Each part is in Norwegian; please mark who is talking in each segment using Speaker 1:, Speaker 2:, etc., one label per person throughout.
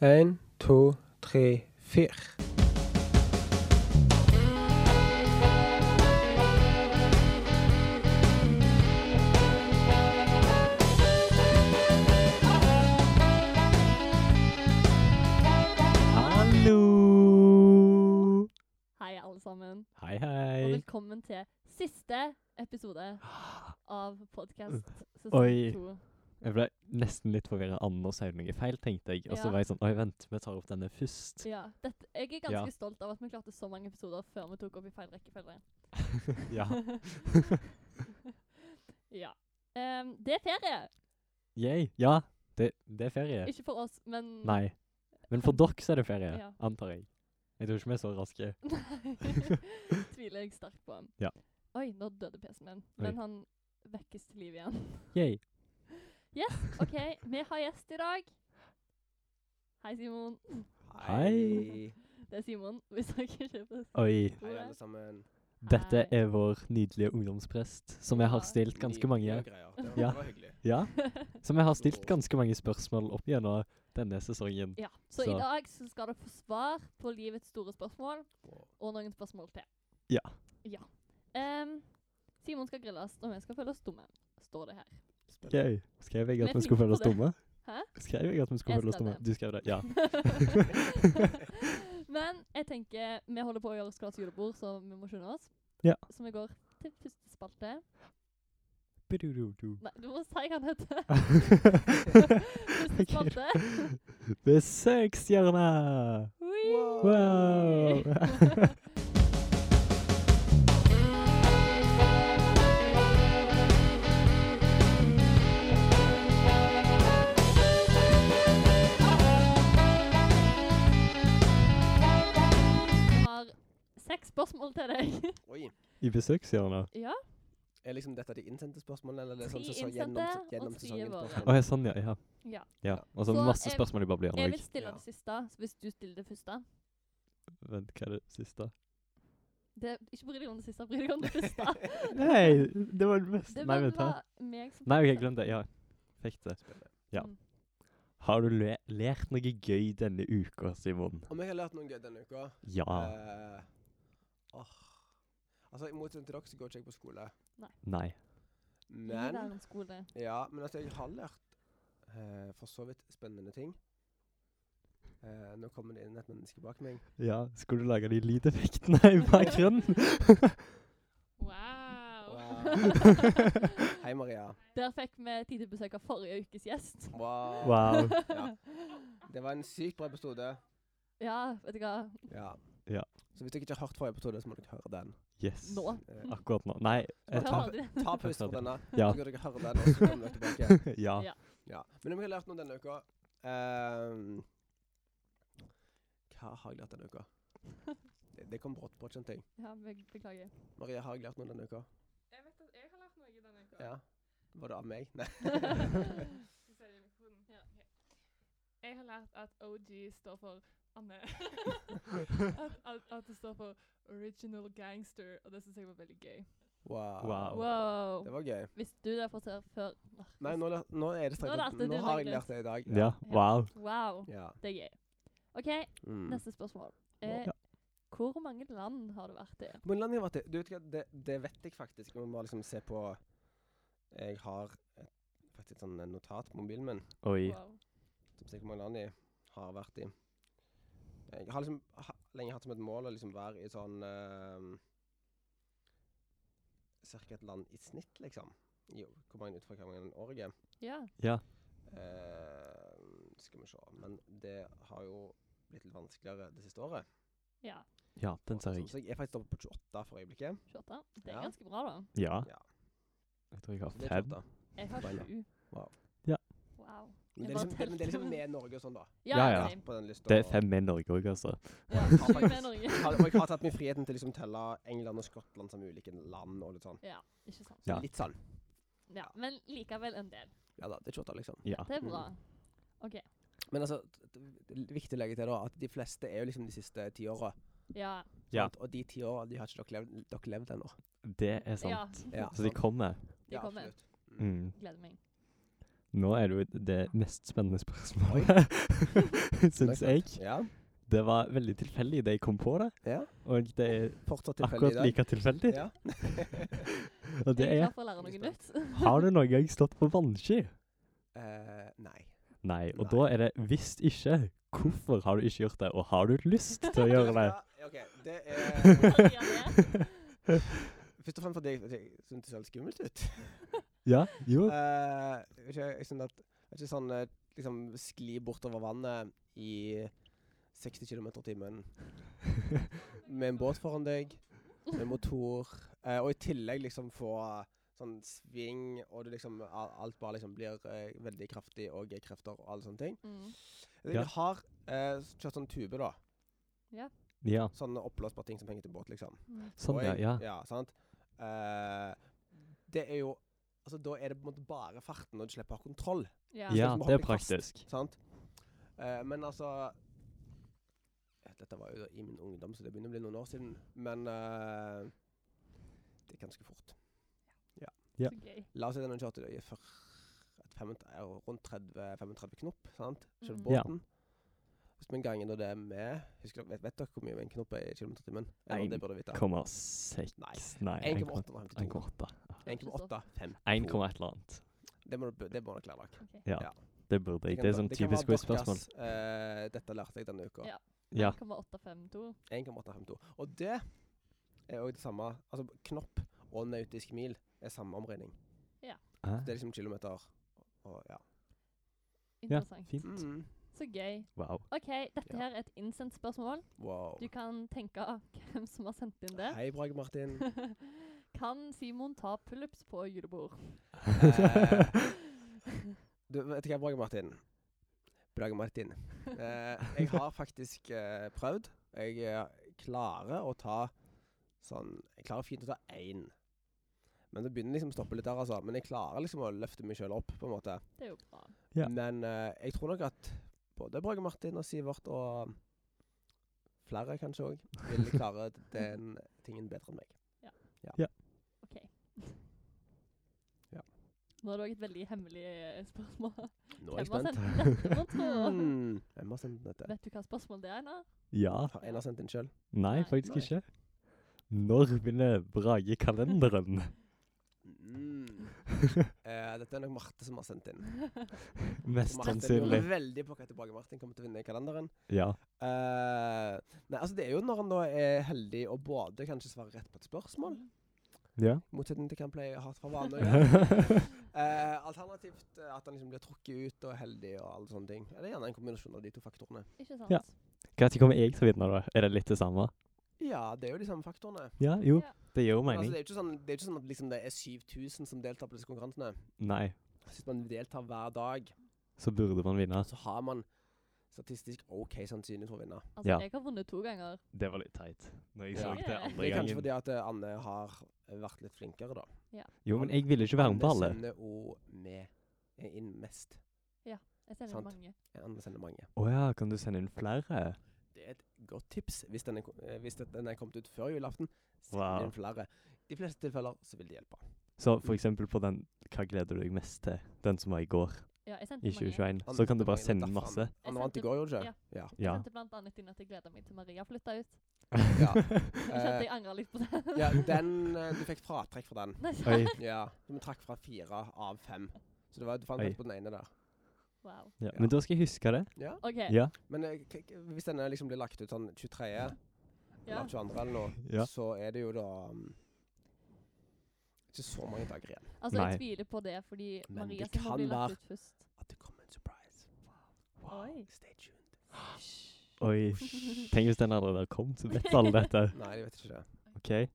Speaker 1: En, to, tre, fire.
Speaker 2: Hallo!
Speaker 3: Hei, alle sammen.
Speaker 2: Hei,
Speaker 3: Og
Speaker 2: hei.
Speaker 3: velkommen til siste episode av podkast sesong
Speaker 2: Oi.
Speaker 3: to.
Speaker 2: Jeg ble nesten litt forvirra av nå sa jeg noe feil, tenkte jeg. Og så
Speaker 3: Ja.
Speaker 2: var jeg sånn Oi, vent, vi tar opp denne først.
Speaker 3: Ja, dette, jeg er ganske
Speaker 2: Ja.
Speaker 3: stolt av at vi klarte så mange episoder før vi tok opp i feil rekkefølge.
Speaker 2: ja.
Speaker 3: ja. Em, det er ferie.
Speaker 2: Yay. Ja, det, det er ferie.
Speaker 3: Ikke for oss, men
Speaker 2: Nei. Men for dere så er det ferie,
Speaker 3: Ja.
Speaker 2: antar jeg. Jeg tror ikke vi er så raske.
Speaker 3: Nei. Tviler jeg sterkt på.
Speaker 2: Ja.
Speaker 3: Oi, nå døde PC-en min.
Speaker 2: Oi.
Speaker 3: Men han vekkes til liv igjen.
Speaker 2: Yay.
Speaker 3: OK, vi har gjest i dag. Hei, Simon.
Speaker 2: Hei.
Speaker 3: Det er Simon, hvis dere ikke forstår
Speaker 2: Oi.
Speaker 1: Hei, alle
Speaker 3: det.
Speaker 1: sammen.
Speaker 2: Dette
Speaker 3: Hei.
Speaker 2: er vår nydelige ungdomsprest, som jeg har
Speaker 3: Ja.
Speaker 2: stilt ganske
Speaker 1: Nye- nye
Speaker 2: mange
Speaker 1: greier. Det var,
Speaker 2: Ja.
Speaker 1: det var hyggelig.
Speaker 2: Ja. Som jeg har stilt ganske mange spørsmål opp gjennom denne sesongen.
Speaker 3: Ja, så,
Speaker 2: Så-
Speaker 3: i dag så skal dere få svar på livets store spørsmål,
Speaker 1: Wow.
Speaker 3: og noen spørsmål til.
Speaker 2: Ja.
Speaker 3: Ja. Em, Simon skal grilles, og vi skal føle oss dumme, står det her.
Speaker 1: Spennende.
Speaker 2: Gøy. Skrev jeg
Speaker 3: Vi
Speaker 2: at
Speaker 3: er
Speaker 2: vi skulle
Speaker 3: flinke
Speaker 2: føle oss
Speaker 3: på det.
Speaker 2: dumme?
Speaker 3: Hæ?
Speaker 2: Skrev jeg at vi skulle
Speaker 3: Jeg
Speaker 2: føle oss
Speaker 3: skrev
Speaker 2: dumme?
Speaker 3: det.
Speaker 2: Du skrev det, ja.
Speaker 3: Men jeg tenker vi holder på å gjøre Skvats julebord, så vi må skynde oss.
Speaker 2: Ja.
Speaker 3: Så vi går til første spalte.
Speaker 2: Bidududu.
Speaker 3: Nei, du må si hva den heter. første
Speaker 2: Ok, da.
Speaker 3: spalte.
Speaker 2: Besøkshjørnet!
Speaker 3: Ui.
Speaker 2: Wow!
Speaker 3: Jeg har seks spørsmål til deg.
Speaker 1: Oi.
Speaker 2: I besøkshjørnet?
Speaker 3: ja.
Speaker 1: Er liksom dette de innsendte spørsmålene, eller er det
Speaker 3: Tre
Speaker 1: sånn sesong,
Speaker 3: innsendte,
Speaker 1: gjennom,
Speaker 3: og
Speaker 1: gjennom
Speaker 3: tre
Speaker 1: sesongen?
Speaker 3: våre.
Speaker 2: Å
Speaker 1: spørsmål?
Speaker 2: ja, sånn, ja. ja.
Speaker 3: Ja.
Speaker 2: ja. Og så
Speaker 3: Så,
Speaker 2: masse
Speaker 3: eh,
Speaker 2: spørsmål i Babylon
Speaker 3: Jeg
Speaker 2: òg.
Speaker 3: vil stille
Speaker 1: Ja.
Speaker 3: det siste, så hvis du stiller det første.
Speaker 2: Vent, hva er det siste?
Speaker 3: Det, ikke bry deg om det siste, bry deg om det første.
Speaker 2: Nei, det var det beste
Speaker 3: Det
Speaker 2: Nei,
Speaker 3: var
Speaker 2: vent, hæ?
Speaker 3: meg som
Speaker 2: Nei, ok,
Speaker 3: fikk det.
Speaker 2: glem det. Ja, fikk det.
Speaker 1: Spennende.
Speaker 2: Ja.
Speaker 3: Mm.
Speaker 2: Har du le lært noe gøy denne uka, Simon?
Speaker 1: Om jeg har lært noe gøy denne uka
Speaker 2: Ja.
Speaker 1: eh, åh. Altså, I motsetning til dere så går ikke jeg på skole.
Speaker 2: Nei.
Speaker 3: Gi
Speaker 1: Men
Speaker 3: deg en skole.
Speaker 1: Ja, men altså, jeg har lært eh, for så vidt spennende ting. Eh, nå kommer det inn et menneske bak meg.
Speaker 2: Ja, skulle du lage de lydeffektene i bakgrunnen?
Speaker 3: Wow.
Speaker 1: Hei, Maria.
Speaker 3: Der fikk vi tid til besøk av forrige ukes gjest.
Speaker 1: Wow.
Speaker 2: Wow.
Speaker 1: Ja. Det var en sykt bra episode.
Speaker 3: Ja, vet du hva.
Speaker 1: Ja.
Speaker 2: Ja.
Speaker 1: Så hvis dere ikke har hørt forrige episode, så må dere høre den.
Speaker 2: Yes.
Speaker 3: Nå.
Speaker 1: Eh,
Speaker 2: Akkurat nå. Nei,
Speaker 1: Ja,
Speaker 2: jeg
Speaker 3: Hør
Speaker 1: ta-
Speaker 2: tar
Speaker 3: aldri.
Speaker 1: ta pust på denne,
Speaker 2: Ah. Ja.
Speaker 1: så kan dere høre den, og så kommer dere tilbake.
Speaker 2: Ja.
Speaker 3: Ja.
Speaker 1: Ja. Men om jeg har lært noe denne uka ehm, Hva har jeg lært denne uka? Det, det kom brått på, kjente jeg.
Speaker 3: Ja, be- beklager.
Speaker 1: Maria, har jeg lært noe denne uka?
Speaker 4: Jeg vet at jeg har lært noe denne uka.
Speaker 1: Ja. Var det av meg? Nei.
Speaker 4: Så ser jeg i mikrofonen. Ok. Jeg har lært at OG står for Anne. at, at, at det står for Original Gangster, og det syns jeg var veldig gøy.
Speaker 1: Wow.
Speaker 2: Wow.
Speaker 1: Det
Speaker 3: Wow.
Speaker 1: var gøy.
Speaker 3: Visste du det fra før? før?
Speaker 1: Nei, nå, lær- nå er det
Speaker 3: Nå
Speaker 1: strengt.
Speaker 3: lærte
Speaker 1: Nå,
Speaker 3: du
Speaker 1: nå har jeg
Speaker 3: det,
Speaker 1: lært det i dag.
Speaker 2: Ja. Wow.
Speaker 3: Wow.
Speaker 1: ja.
Speaker 3: Det er gøy. OK,
Speaker 1: Mm.
Speaker 3: neste spørsmål. Eh,
Speaker 2: Ja.
Speaker 3: Hvor mange land har du vært i?
Speaker 1: Men landet jeg har vært i du vet, hva, det, det vet jeg faktisk. Vi må liksom se på Jeg har et, faktisk et sånn eh, notat på mobilen min
Speaker 2: Oi.
Speaker 3: Wow.
Speaker 1: som sier hvor mange land jeg har vært i. Jeg har liksom ha, lenge hatt som et mål å liksom være i sånn uh, Cirka et land i snitt, liksom. I, hvor mange ut fra hver gang året er.
Speaker 3: Ja.
Speaker 2: Ja.
Speaker 1: Eh, skal vi se. Men det har jo blitt litt vanskeligere det siste året.
Speaker 3: ja.
Speaker 2: Ja, den ser
Speaker 1: Så,
Speaker 2: jeg.
Speaker 1: så jeg er faktisk oppe på 28 for øyeblikket.
Speaker 3: 28. Det er
Speaker 1: Ja.
Speaker 3: ganske bra, da.
Speaker 2: Ja.
Speaker 1: Ja.
Speaker 2: Jeg tror jeg har
Speaker 1: Så det er
Speaker 2: fem.
Speaker 1: 28.
Speaker 3: Jeg har
Speaker 1: Spennende.
Speaker 3: sju.
Speaker 1: Wow.
Speaker 2: Ja.
Speaker 3: Wow.
Speaker 1: Men det,
Speaker 3: Jeg
Speaker 1: er
Speaker 3: bare
Speaker 1: liksom, det, men det er liksom
Speaker 3: telte.
Speaker 1: med Norge og sånn, da.
Speaker 3: Ja,
Speaker 2: Ja, ja.
Speaker 3: same.
Speaker 1: På den lista.
Speaker 2: Det er fem med Norge òg, altså.
Speaker 3: Ja,
Speaker 1: Jeg har
Speaker 3: sju med
Speaker 1: faktisk-
Speaker 3: Norge.
Speaker 1: Har- Og jeg har tatt meg friheten til å liksom telle England og Skottland som ulike land og litt sånn.
Speaker 3: Ja, ikke sant.
Speaker 2: Ja.
Speaker 1: Litt sånn.
Speaker 3: Ja, men likevel en del.
Speaker 1: Ja da, det er 28, liksom.
Speaker 2: Ja.
Speaker 3: Det er bra. OK.
Speaker 1: Men altså, t- t- det er viktig å legge til da, at de fleste er jo liksom de siste ti åra.
Speaker 3: Ja.
Speaker 2: Ja.
Speaker 1: sant? Og de ti åra, de har ikke dere levd, dere levd ennå.
Speaker 2: Det er sant.
Speaker 3: ja.
Speaker 1: Ja,
Speaker 2: Så de
Speaker 1: sant?
Speaker 2: kommer.
Speaker 3: De
Speaker 1: Ja,
Speaker 3: kommer.
Speaker 1: absolutt.
Speaker 2: Mm.
Speaker 3: Gleder meg.
Speaker 2: Nå er det jo det mest spennende spørsmålet, syns jeg.
Speaker 1: Ja,
Speaker 2: Det var veldig tilfeldig da jeg kom på det,
Speaker 1: ja.
Speaker 2: og det er
Speaker 1: Fortsatt tilfeldig i
Speaker 2: akkurat
Speaker 1: dag.
Speaker 2: like tilfeldig.
Speaker 1: Ja.
Speaker 2: Og det
Speaker 3: Jeg
Speaker 2: er
Speaker 3: er klar for å lære noe
Speaker 1: Jeg er
Speaker 3: nytt.
Speaker 2: Har du noen gang stått på vannski?
Speaker 1: Eh, nei.
Speaker 2: Nei. Og
Speaker 1: Nei.
Speaker 2: da er det hvis ikke, hvorfor har du ikke gjort det, og har du lyst til å gjøre det?
Speaker 1: Ja, OK. Det er
Speaker 3: Kan du gjøre det?
Speaker 1: Først og fremst fordi jeg, fordi jeg syntes det så litt skummelt ut.
Speaker 2: Ja, jo.
Speaker 1: Eh, vet ikke, jeg synes at vet ikke sånn eh, liksom skli bortover vannet i 60 km i timen med en båt foran deg, med motor, eh, og i tillegg liksom få sånn sving, og du liksom a- alt bare liksom blir eh, veldig kraftig, og G-krefter og alle sånne ting.
Speaker 3: Mm.
Speaker 2: Ja.
Speaker 1: Jeg har eh, kjørt sånn tube, da.
Speaker 2: Ja.
Speaker 1: Sånn oppblåsbar ting som henger til båt, liksom.
Speaker 3: Mm.
Speaker 2: Sånn,
Speaker 1: Og
Speaker 2: ja.
Speaker 1: jeg-
Speaker 2: ja.
Speaker 1: ja sant? Eh, det er jo Altså, da er det på en måte bare farten, og du slipper å ha kontroll.
Speaker 3: Ja.
Speaker 2: Ja,
Speaker 1: som å
Speaker 2: det er
Speaker 1: hoppe i kast.
Speaker 2: praktisk.
Speaker 1: Sant? Eh, men altså eh, Dette var jo da i min ungdom, så det begynner å bli noen år siden. Men eh, det er ganske fort.
Speaker 2: Ja.
Speaker 3: Så gøy.
Speaker 1: La oss si den hun kjørte i før, et 35 eh, rundt 30, 35 knop. sant? Kjørte
Speaker 3: Mhm.
Speaker 2: Ja.
Speaker 1: båten. Hvis vi ganger da det med husker, dere- vet, vet dere hvor mye en knop er i kilometer i timen? Eller
Speaker 2: Nei,
Speaker 1: det burde dere vite.
Speaker 2: 1,6 Nei, 1,8.
Speaker 1: 1,852. 1,852.
Speaker 2: et eller annet.
Speaker 1: Det må du det må dere lære dere. Ja.
Speaker 2: Ja. Det burde jeg. Det er sånn typisk quiz-spørsmål.
Speaker 1: Uh, dette lærte jeg denne uka.
Speaker 3: Ja.
Speaker 2: Ja.
Speaker 3: 1,852.
Speaker 1: 1,852. Og det er jo det samme Altså knopp og nautisk mil er samme omregning.
Speaker 2: Ah,
Speaker 1: Det er liksom kilometer og ja.
Speaker 2: Ja,
Speaker 3: Interessant.
Speaker 2: fint.
Speaker 1: Mm.
Speaker 3: Så gøy.
Speaker 2: Wow.
Speaker 3: OK, dette
Speaker 1: Ja.
Speaker 3: her er et innsendt spørsmål.
Speaker 1: Wow.
Speaker 3: Du kan tenke hvem som har sendt inn det.
Speaker 1: Hei, Brage Martin.
Speaker 3: Kan Simon ta pullups på julebord?
Speaker 1: Eh, du vet du hva, Brage Martin. Brage Martin. Eh, jeg har faktisk eh, prøvd. Jeg eh, klarer å ta sånn Jeg klarer fint å ta én. Men det begynner liksom å stoppe litt der, altså. Men jeg klarer liksom å løfte meg sjøl opp, på en måte.
Speaker 3: Det er jo bra.
Speaker 2: Ja.
Speaker 1: Men eh, jeg tror nok at både Brage Martin og Sivert og um, flere kanskje òg vil klare den tingen bedre enn meg.
Speaker 3: OK.
Speaker 1: Ja.
Speaker 3: Nå er det òg et veldig hemmelig eh, spørsmål.
Speaker 1: Nå er jeg
Speaker 3: Hvem har
Speaker 1: spent.
Speaker 3: sendt inn dette, mon tro?
Speaker 1: Hmm, Hvem har sendt dette?
Speaker 3: Vet du hva spørsmål det er, Einar?
Speaker 2: Ja.
Speaker 1: Har en har sendt den sjøl?
Speaker 2: Nei,
Speaker 3: Nei.
Speaker 2: faktisk
Speaker 1: Nei.
Speaker 2: ikke. Når begynner Brage-kalenderen?
Speaker 1: Hmm. Eh, dette er nok Marte som har sendt inn.
Speaker 2: Mest
Speaker 1: Marte
Speaker 2: sannsynlig.
Speaker 1: lurer veldig på hva tilbake Martin kommer til å vinne i kalenderen.
Speaker 2: Ja.
Speaker 1: Eh, nei, altså Det er jo når han da er heldig og både kanskje svarer rett på et spørsmål,
Speaker 2: Ja.
Speaker 1: i motsetning til Camplay har hatt for vane å gjøre.
Speaker 2: ja.
Speaker 1: Eh, alternativt eh, at han liksom blir trukket ut og er heldig og alle sånne ting. Det er gjerne en kombinasjon av de to faktorene.
Speaker 3: Ikke sant?
Speaker 2: Ja. Når kommer jeg til å vinne, da? Er det litt det samme?
Speaker 1: Ja, det er jo de samme faktorene.
Speaker 2: Ja, jo.
Speaker 3: Ja.
Speaker 2: Det gir jo
Speaker 1: Men Altså,
Speaker 2: mening.
Speaker 1: det er jo ikke sånn, det er ikke sånn at liksom, det er 7000 som deltar på disse konkurransene.
Speaker 2: Nei,
Speaker 1: Hvis man deltar hver dag,
Speaker 2: så burde man vinne.
Speaker 1: så har man statistisk OK sannsynlighet for å vinne.
Speaker 3: Altså,
Speaker 2: Ja.
Speaker 3: jeg har vunnet to ganger.
Speaker 2: Det var litt teit. Når jeg
Speaker 1: Ja.
Speaker 2: så det
Speaker 3: Ja.
Speaker 1: Det
Speaker 2: andre
Speaker 1: er kanskje
Speaker 2: gangen.
Speaker 1: fordi at eh, Anne har vært litt flinkere, da.
Speaker 2: Jo, men jeg ville ikke være med på alle.
Speaker 1: Anne sender også med eh, inn mest.
Speaker 3: Jeg ser
Speaker 1: Sant.
Speaker 3: det mange.
Speaker 1: Eh, Anne sender mange.
Speaker 2: Å ja, kan du sende inn flere?
Speaker 1: Det er et godt tips hvis den er, ko- eh, hvis den er kommet ut før julaften. Send
Speaker 2: Wow.
Speaker 1: inn flere. I de fleste tilfeller så vil det hjelpe.
Speaker 2: Så for eksempel på den Hva gleder du deg mest til? Den som var i går,
Speaker 3: Ja, jeg sendte
Speaker 2: i
Speaker 3: mange.
Speaker 2: 2021.
Speaker 1: Anne
Speaker 2: Så kan
Speaker 1: sendte mange,
Speaker 2: du bare
Speaker 1: det er
Speaker 2: sende
Speaker 1: derfor
Speaker 2: masse.
Speaker 1: Anne- Anne vant i går, gjorde hun ikke? Ja.
Speaker 3: Jeg
Speaker 2: Ja.
Speaker 3: sendte blant annet inn at jeg gleder meg til Maria flytta ut.
Speaker 1: Ja.
Speaker 3: Jeg kjente
Speaker 1: Eh,
Speaker 3: jeg angrer litt på det.
Speaker 1: ja, den eh, Du fikk fratrekk fra den.
Speaker 3: Nei, så-
Speaker 2: Oi.
Speaker 1: Ja. Så vi trakk fra fire av fem. Så det var, du fant
Speaker 2: Oi.
Speaker 1: rett på den ene der.
Speaker 3: Wow.
Speaker 2: Ja. Men da skal jeg huske det.
Speaker 1: Ja.
Speaker 3: OK.
Speaker 2: Ja.
Speaker 1: Men eh, k k hvis denne liksom blir lagt ut sånn 23.
Speaker 3: Ja.
Speaker 1: eller 22. eller noe,
Speaker 2: Ja.
Speaker 1: så er det jo da mm, ikke så mange dager igjen.
Speaker 3: Altså,
Speaker 2: Nei.
Speaker 3: jeg tviler på det, fordi
Speaker 1: Men
Speaker 3: Maria
Speaker 1: det
Speaker 3: sin må bli
Speaker 1: kan
Speaker 3: lagt
Speaker 1: være-
Speaker 3: ut først.
Speaker 1: At det kommer en surprise.
Speaker 3: Oi.
Speaker 1: Stay tuned.
Speaker 2: Oi. Tenk hvis den andre der kom, så vet alle dette.
Speaker 1: Nei, de vet ikke det.
Speaker 2: OK?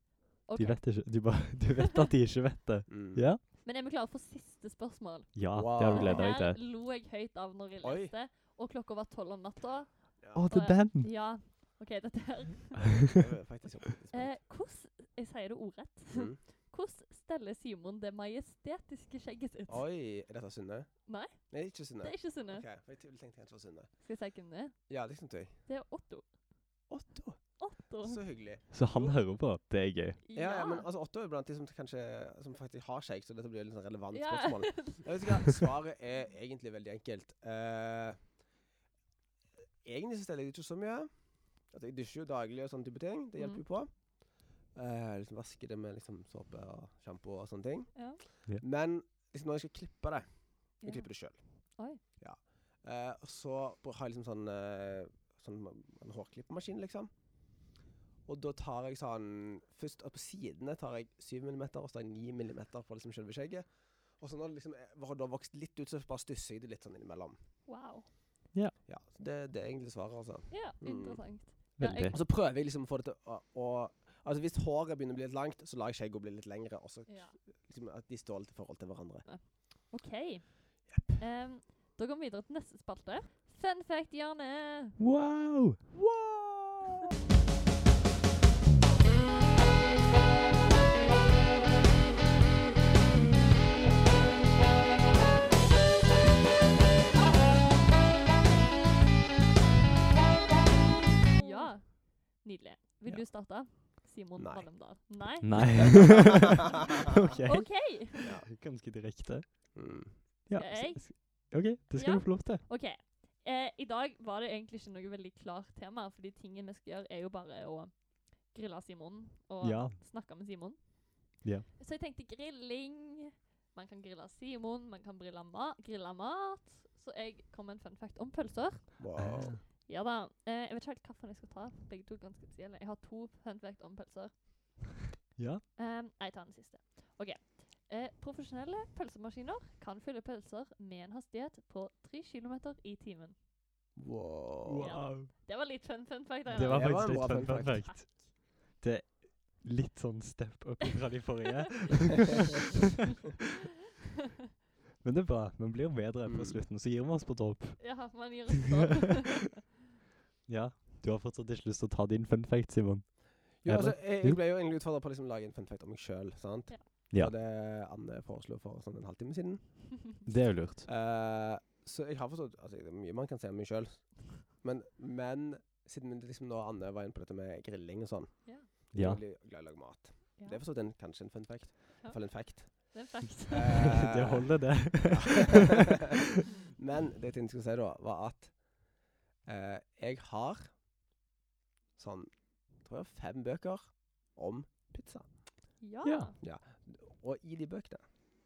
Speaker 3: Ok.
Speaker 2: De vet ikke. Du, bare, du vet at de ikke vet det.
Speaker 1: Mm.
Speaker 2: Ja?
Speaker 3: Men er vi klare for siste spørsmål?
Speaker 2: Ja,
Speaker 1: Wow.
Speaker 2: det har du
Speaker 1: Gleder
Speaker 2: gleda deg
Speaker 3: Her
Speaker 2: til.
Speaker 3: lo jeg høyt av når jeg
Speaker 1: Oi.
Speaker 3: leste, og klokka var tolv om natta.
Speaker 2: Å, det er den!
Speaker 3: Ja. OK, dette her.
Speaker 1: Jeg er faktisk oppriktig
Speaker 3: Eh,
Speaker 1: spent.
Speaker 3: hvordan Jeg sier det ordrett.
Speaker 1: Mm.
Speaker 3: Hvordan steller Simon det majestetiske skjegget sitt?
Speaker 1: Oi, er dette Synne?
Speaker 3: Nei.
Speaker 1: Nei, ikke Synne.
Speaker 3: Det er ikke Synne.
Speaker 1: Ok, for jeg tenkte kanskje det var Synne.
Speaker 3: Skal jeg si hvem det er?
Speaker 1: Ja, det tenkte jeg.
Speaker 3: Det er Otto.
Speaker 1: Otto.
Speaker 3: Otto.
Speaker 1: Så hyggelig.
Speaker 2: Så han hører på. Det er gøy.
Speaker 1: Ja, ja, men altså, Otto er blant de som kanskje som faktisk har shake, så dette blir jo litt sånn relevant
Speaker 3: Ja.
Speaker 1: spørsmål. Jeg vet ikke hva, Svaret er egentlig veldig enkelt. Eh, egentlig så steller jeg ikke så mye. At jeg dusjer jo daglig og sånne type ting. Det hjelper jo
Speaker 3: Mm.
Speaker 1: på. Eh, liksom Vasker det med liksom såpe og sjampo og sånne ting.
Speaker 3: Ja.
Speaker 2: Ja.
Speaker 1: Men liksom når jeg skal klippe det
Speaker 3: Ja.
Speaker 1: Jeg klipper det sjøl.
Speaker 3: Oi.
Speaker 1: Ja. Eh, og så br- har jeg liksom sånn, eh, sånn ma- en hårklippemaskin, liksom. Og da tar jeg sånn Først på sidene tar jeg 7 mm, og så tar jeg 9 mm på liksom selve skjegget. Og så når det liksom er- har da vokst litt ut, så bare stusser jeg det litt sånn innimellom.
Speaker 3: Wow.
Speaker 1: Ja, så det, det er egentlig svaret, altså.
Speaker 3: Ja,
Speaker 1: Mm.
Speaker 3: interessant. Ja, jeg-
Speaker 2: Veldig.
Speaker 1: Og så prøver jeg liksom å få det til å, å Altså Hvis håret begynner å bli litt langt, så lar jeg skjegget bli litt lengre. Og så
Speaker 4: Ja.
Speaker 1: liksom at de står litt i forhold til hverandre.
Speaker 3: OK. Em, da går vi videre til neste spalte. Fun fact, Jarne.
Speaker 2: Wow!
Speaker 3: Ja. Nydelig. Vil
Speaker 1: Ja.
Speaker 3: du starte? Simon
Speaker 1: Nei.
Speaker 3: Valmdal. Nei?
Speaker 2: Nei. OK.
Speaker 3: OK.
Speaker 2: Ganske direkte.
Speaker 1: Mm.
Speaker 2: Ja.
Speaker 3: Skal jeg?
Speaker 2: s- s- OK, det skal
Speaker 3: Ja.
Speaker 2: du få lov til.
Speaker 3: OK. Eh, I dag var det egentlig ikke noe veldig klart tema, fordi tingen vi skal gjøre, er jo bare å grille Simon og
Speaker 2: Ja.
Speaker 3: snakke med Simon.
Speaker 2: Ja.
Speaker 3: Så jeg tenkte grilling. Man kan grille Simon, man kan grille, ma grille mat. Så jeg kom med en fun fact om pølser.
Speaker 1: Wow.
Speaker 3: Ja da. Eh, jeg vet ikke helt hvilken jeg skal ta. for Begge to er ganske spesielle. Jeg har to fun fact om pølser.
Speaker 2: Ja.
Speaker 3: Um, jeg tar den siste. OK. Eh, profesjonelle pølsemaskiner kan fylle pølser med en hastighet på 3 km i timen.
Speaker 1: Wow.
Speaker 2: Wow.
Speaker 3: Det var litt fun fun
Speaker 2: Det
Speaker 3: fact.
Speaker 2: var
Speaker 1: Det var
Speaker 2: faktisk
Speaker 1: en bra
Speaker 2: litt fun,
Speaker 1: fun
Speaker 2: fun fact. Det er litt sånn step up fra de forrige. Men det er bra. Man blir bedre på
Speaker 1: Mm.
Speaker 2: slutten, så gir vi oss på topp.
Speaker 3: Ja, man gjør det sånn.
Speaker 2: Ja. Du har fortsatt ikke lyst til å ta din fun fact, Simon.
Speaker 1: Jo, altså,
Speaker 2: Eller?
Speaker 1: jeg,
Speaker 2: Jo.
Speaker 1: jeg ble jo egentlig utfordra på å liksom, lage en fun fact om meg sjøl. sant?
Speaker 3: Ja.
Speaker 2: Ja.
Speaker 1: Og det Anne foreslo for sånn en halvtime siden.
Speaker 2: Det er jo lurt.
Speaker 1: Eh, så jeg har forstått altså, Det er mye man kan si om meg sjøl. Men, men siden vi liksom nå Anne var inne på dette med grilling og sånn Jeg
Speaker 2: Ja.
Speaker 1: er veldig glad i å lage mat.
Speaker 3: Ja.
Speaker 1: Det er forstått en, kanskje en fun fact. I
Speaker 3: Ja.
Speaker 1: hvert fall en fact.
Speaker 3: Det er en fact.
Speaker 1: Eh,
Speaker 2: det holder, det.
Speaker 1: Men det jeg tenkte jeg skulle si da, var at eh, jeg har sånn tror jeg fem bøker om pizza.
Speaker 3: Ja.
Speaker 2: Ja.
Speaker 1: Og i de bøkene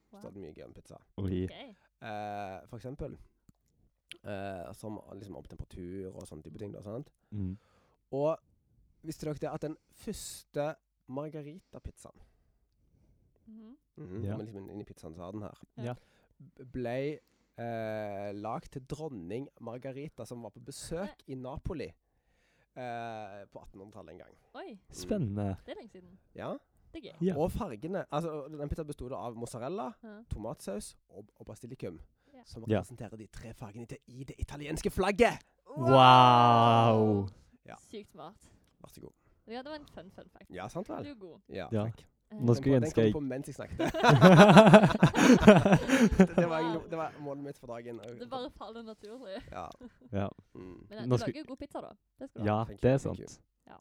Speaker 3: Wow.
Speaker 1: står det mye gøy om pizza.
Speaker 2: Oi.
Speaker 3: Ok.
Speaker 1: Eh, for eksempel eh, som liksom om temperatur og sånne type ting. Da, sant?
Speaker 2: Mm.
Speaker 1: Og visste dere det at den første margaritapizzaen
Speaker 3: Mhm.
Speaker 1: mm,
Speaker 2: Ja.
Speaker 1: liksom inn- Inni pizzaen så har den her.
Speaker 2: Ja.
Speaker 1: b- Ble eh, lagd til dronning Margarita, som var på besøk i Napoli eh, på 1800-tallet en gang.
Speaker 3: Oi,
Speaker 2: Spennende.
Speaker 3: det er lenge siden.
Speaker 1: Ja.
Speaker 3: Det er gøy.
Speaker 2: Ja.
Speaker 1: Og fargene altså Den pizzaen bestod av mozzarella,
Speaker 3: Ja.
Speaker 1: tomatsaus og, og basilikum.
Speaker 3: Ja.
Speaker 1: Som
Speaker 2: Ja.
Speaker 1: representerer de tre fargene til i det italienske flagget.
Speaker 2: Wow!
Speaker 1: Ja.
Speaker 3: Sykt smart.
Speaker 1: Vær så god.
Speaker 3: Ja, det var en fun fun fact.
Speaker 1: Ja, sant
Speaker 3: Du
Speaker 1: vel?
Speaker 3: er god.
Speaker 1: Ja,
Speaker 2: Ja.
Speaker 1: takk.
Speaker 3: Eh,
Speaker 2: Nå skal
Speaker 1: Den
Speaker 2: jeg
Speaker 1: kom-
Speaker 2: ønske
Speaker 1: Den
Speaker 2: jeg
Speaker 1: kom på mens jeg snakket. det, det, var, egentlig- det var målet mitt for dagen.
Speaker 3: Det bare faller naturlig.
Speaker 1: Ja.
Speaker 2: Ja.
Speaker 1: Mm.
Speaker 3: Men eh,
Speaker 2: Nå
Speaker 3: du
Speaker 2: skal-
Speaker 3: lager jo god pizza, da. Det skal du ha.
Speaker 2: ja,
Speaker 1: thank
Speaker 2: det
Speaker 1: you,
Speaker 2: er
Speaker 1: thank you.
Speaker 2: sant.
Speaker 3: Ja.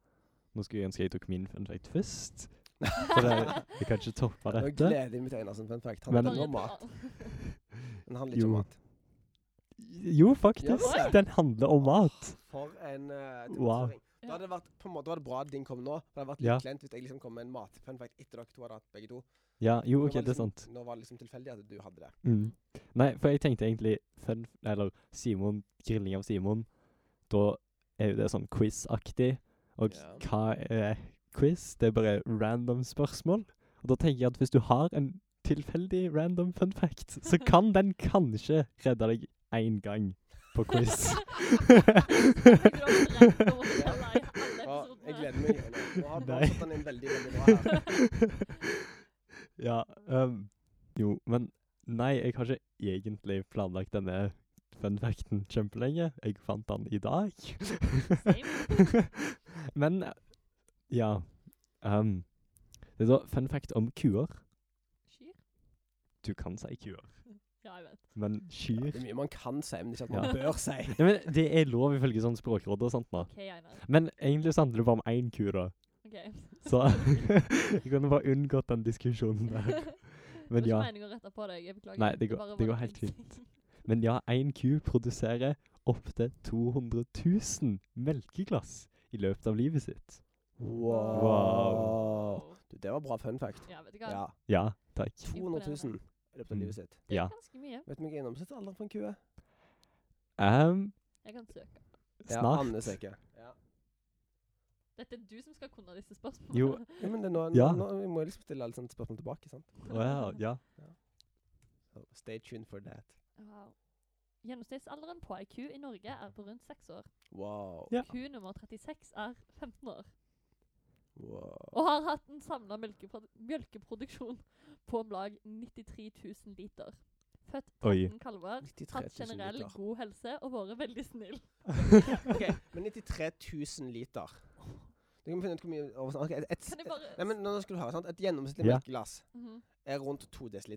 Speaker 2: Nå skulle jeg ønske jeg tok min fun fact først. For det, jeg kan ikke toppe
Speaker 1: Nå
Speaker 2: dette.
Speaker 1: gleder jeg meg til Einarsen fun fact. Han
Speaker 2: Men-
Speaker 1: handler
Speaker 3: Bare
Speaker 1: om mat.
Speaker 3: bra.
Speaker 1: Den handler ikke om
Speaker 2: Jo.
Speaker 1: mat.
Speaker 2: Jo, faktisk.
Speaker 1: Ja,
Speaker 2: Den handler om mat.
Speaker 1: For en uh,
Speaker 2: Wow.
Speaker 1: Da hadde det vært, på en måte var det bra at din kom nå. For det hadde vært litt
Speaker 2: Ja.
Speaker 1: kleint hvis jeg liksom kom med en matfun fact etter dere to hadde hatt begge to.
Speaker 2: Ja, jo,
Speaker 1: Nå
Speaker 2: OK,
Speaker 1: var
Speaker 2: det er
Speaker 1: liksom,
Speaker 2: sant.
Speaker 1: Nå var det liksom tilfeldig at du hadde det.
Speaker 2: Mm. Nei, for jeg tenkte egentlig fun, Eller Simon, grilling av Simon. Da er jo det sånn quiz-aktig. Og
Speaker 1: Ja.
Speaker 2: hva er quiz? Det er bare random spørsmål. Og da tenker jeg at hvis du har en tilfeldig random fun fact, så kan den kanskje redde deg én gang på quiz.
Speaker 1: Og jeg gleder meg. Einar. Nå har du
Speaker 2: Nei.
Speaker 1: satt den inn veldig, veldig bra her.
Speaker 2: ja ehm, Jo, men nei, jeg har ikke egentlig planlagt denne fun facten kjempelenge. Jeg fant den i dag. men eh, ja ehm, Det er da fun fact om kuer.
Speaker 3: Kyr?
Speaker 2: Du kan si kuer.
Speaker 3: Ja, Ja, jeg vet.
Speaker 2: Men
Speaker 1: Det
Speaker 2: kyr
Speaker 1: er mye man kan si, men ikke at man
Speaker 2: Ja.
Speaker 1: bør si.
Speaker 2: Nei, men Det er lov ifølge sånn språkråd og sånt. da.
Speaker 3: OK, Einar.
Speaker 2: Men egentlig så handler det bare om én ku, da.
Speaker 3: OK.
Speaker 2: Så jeg kunne bare unngått den diskusjonen der.
Speaker 3: Det
Speaker 2: Men
Speaker 3: var
Speaker 2: ja,
Speaker 3: ikke meningen å rette på deg. Jeg beklager.
Speaker 2: Nei, det går-
Speaker 3: bare
Speaker 2: det
Speaker 3: var
Speaker 2: går
Speaker 3: en
Speaker 2: helt
Speaker 3: ting.
Speaker 2: men ja, én ku produserer opptil 200 000 melkeglass i løpet av livet sitt.
Speaker 1: Wow.
Speaker 2: Wow.
Speaker 1: Du, det var bra fun fact.
Speaker 3: Ja, vet du hva.
Speaker 1: Ja.
Speaker 2: Ja, takk.
Speaker 1: 200 000 i løpet av
Speaker 2: Mm.
Speaker 1: livet sitt.
Speaker 3: Det er
Speaker 2: Ja.
Speaker 3: ganske mye.
Speaker 1: Vet du hva eiendomsrettsalderen for en ku er?
Speaker 2: Um,
Speaker 3: Jeg kan søke.
Speaker 1: Ja,
Speaker 2: snart.
Speaker 1: Anne sier ikke. Ja.
Speaker 3: Dette er du som skal kunne disse spørsmålene.
Speaker 2: Jo.
Speaker 1: Ja, men det er nå,
Speaker 2: Ja.
Speaker 1: nå, nå vi må liksom stille alle sånne spørsmål tilbake, sant?
Speaker 2: Wow, ja.
Speaker 1: So, stay tuned for that.
Speaker 3: Wow. Gjennomsnittsalderen på ei ku i Norge er på rundt seks år.
Speaker 1: Wow.
Speaker 2: Ja.
Speaker 3: Ku nummer 36 er 15 år
Speaker 1: wow.
Speaker 3: og har hatt en samla melkeproduksjon på om lag 93 000 liter. Født
Speaker 2: Oi.
Speaker 3: 13 kalver,
Speaker 1: 93
Speaker 3: hatt
Speaker 1: 000
Speaker 3: generell
Speaker 1: liter.
Speaker 3: god helse og vært veldig snill.
Speaker 1: Ok, men 93 000 liter. Du kan finne ut hvor mye over, sånn, ok, et, et,
Speaker 3: Kan jeg bare
Speaker 1: Nei, men nå skal du høre, sant? Et gjennomsnittlig
Speaker 2: Ja.
Speaker 1: melkeglass
Speaker 3: Mhm.
Speaker 1: er rundt 2 dl.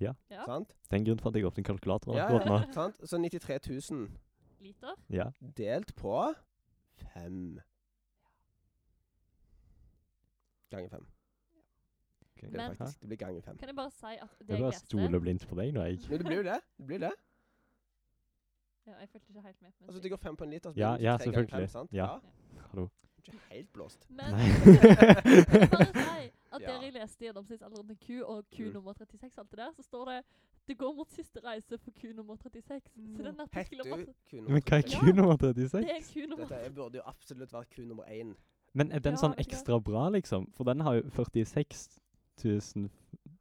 Speaker 2: Ja.
Speaker 3: Ja.
Speaker 1: Sant?
Speaker 2: Det er en grunn for at jeg åpner kalkulatoren
Speaker 1: Ja,
Speaker 2: akkurat nå.
Speaker 1: ja, sant? Så 93 000
Speaker 3: Liter?
Speaker 2: Ja.
Speaker 1: delt på 5. Ganger 5. Det,
Speaker 3: Men-
Speaker 1: er faktisk, det blir ganger 5.
Speaker 3: Kan jeg bare si at
Speaker 2: Jeg
Speaker 3: det jeg
Speaker 2: bare
Speaker 3: leste
Speaker 2: stoler blindt på deg nå, jeg.
Speaker 1: Men det blir jo det. det, blir det.
Speaker 3: ja, Jeg fulgte ikke helt med. på
Speaker 1: Altså,
Speaker 3: musikken.
Speaker 1: det går 5 på en liter, så blir
Speaker 2: Ja,
Speaker 1: det
Speaker 2: ja,
Speaker 1: 93 ganger
Speaker 2: selvfølgelig.
Speaker 1: 5, sant?
Speaker 2: Ja. Hallo.
Speaker 1: Du er ikke helt blåst.
Speaker 3: Men
Speaker 2: Nei.
Speaker 3: jeg vil bare si at
Speaker 1: Ja.
Speaker 3: der jeg leste gjennomsnittsalderen til ku og ku
Speaker 1: Mm.
Speaker 3: nummer 36, og alt det der, så står det det går mot siste reise for ku nummer 36. Så
Speaker 4: Mm.
Speaker 3: den
Speaker 1: Hett
Speaker 3: artikkelen om
Speaker 1: du
Speaker 3: at
Speaker 1: kun
Speaker 2: Men hva er ku nummer
Speaker 3: det er
Speaker 2: 36?
Speaker 3: ku nummer
Speaker 1: Dette er- burde jo absolutt vært ku nummer 1.
Speaker 2: Men er den
Speaker 3: Ja,
Speaker 2: sånn
Speaker 3: vet du hva?
Speaker 2: ekstra bra, liksom? For den har jo 46 000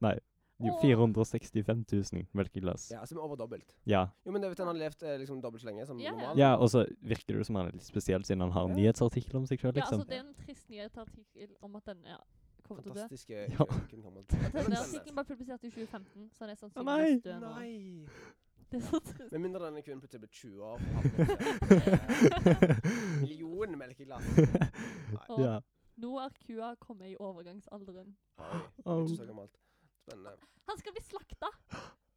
Speaker 2: Nei, jo
Speaker 3: Åh.
Speaker 2: 465 000 melkeglass.
Speaker 1: Ja, som er over dobbelt.
Speaker 2: Ja.
Speaker 1: Jo, men det vet du, han har levd eh, liksom dobbelt så lenge som
Speaker 3: Ja, ja.
Speaker 1: normalt.
Speaker 2: ja, og så virker det jo som han er litt spesiell, siden han har en
Speaker 1: Ja.
Speaker 2: nyhetsartikkel om seg sjøl,
Speaker 3: Ja, altså,
Speaker 2: liksom.
Speaker 3: det er en trist nyhetsartikkel om at den er kommer til å dø.
Speaker 1: Fantastiske
Speaker 2: Ja.
Speaker 1: øyne kommer
Speaker 3: At
Speaker 1: til.
Speaker 3: Den artikkelen ble publisert i 2015, så den er
Speaker 2: nei.
Speaker 3: sannsynligvis død nå.
Speaker 1: Nei!
Speaker 3: Det er så trist.
Speaker 1: Med mindre denne kvinnen plutselig blir 20 år. og havner i, eh, Million melkeglass.
Speaker 3: Og
Speaker 2: ja.
Speaker 3: nå er kua kommet i overgangsalderen.
Speaker 1: Oi,
Speaker 2: Au.
Speaker 1: ikke så gammelt. Spennende.
Speaker 3: Han skal bli slakta!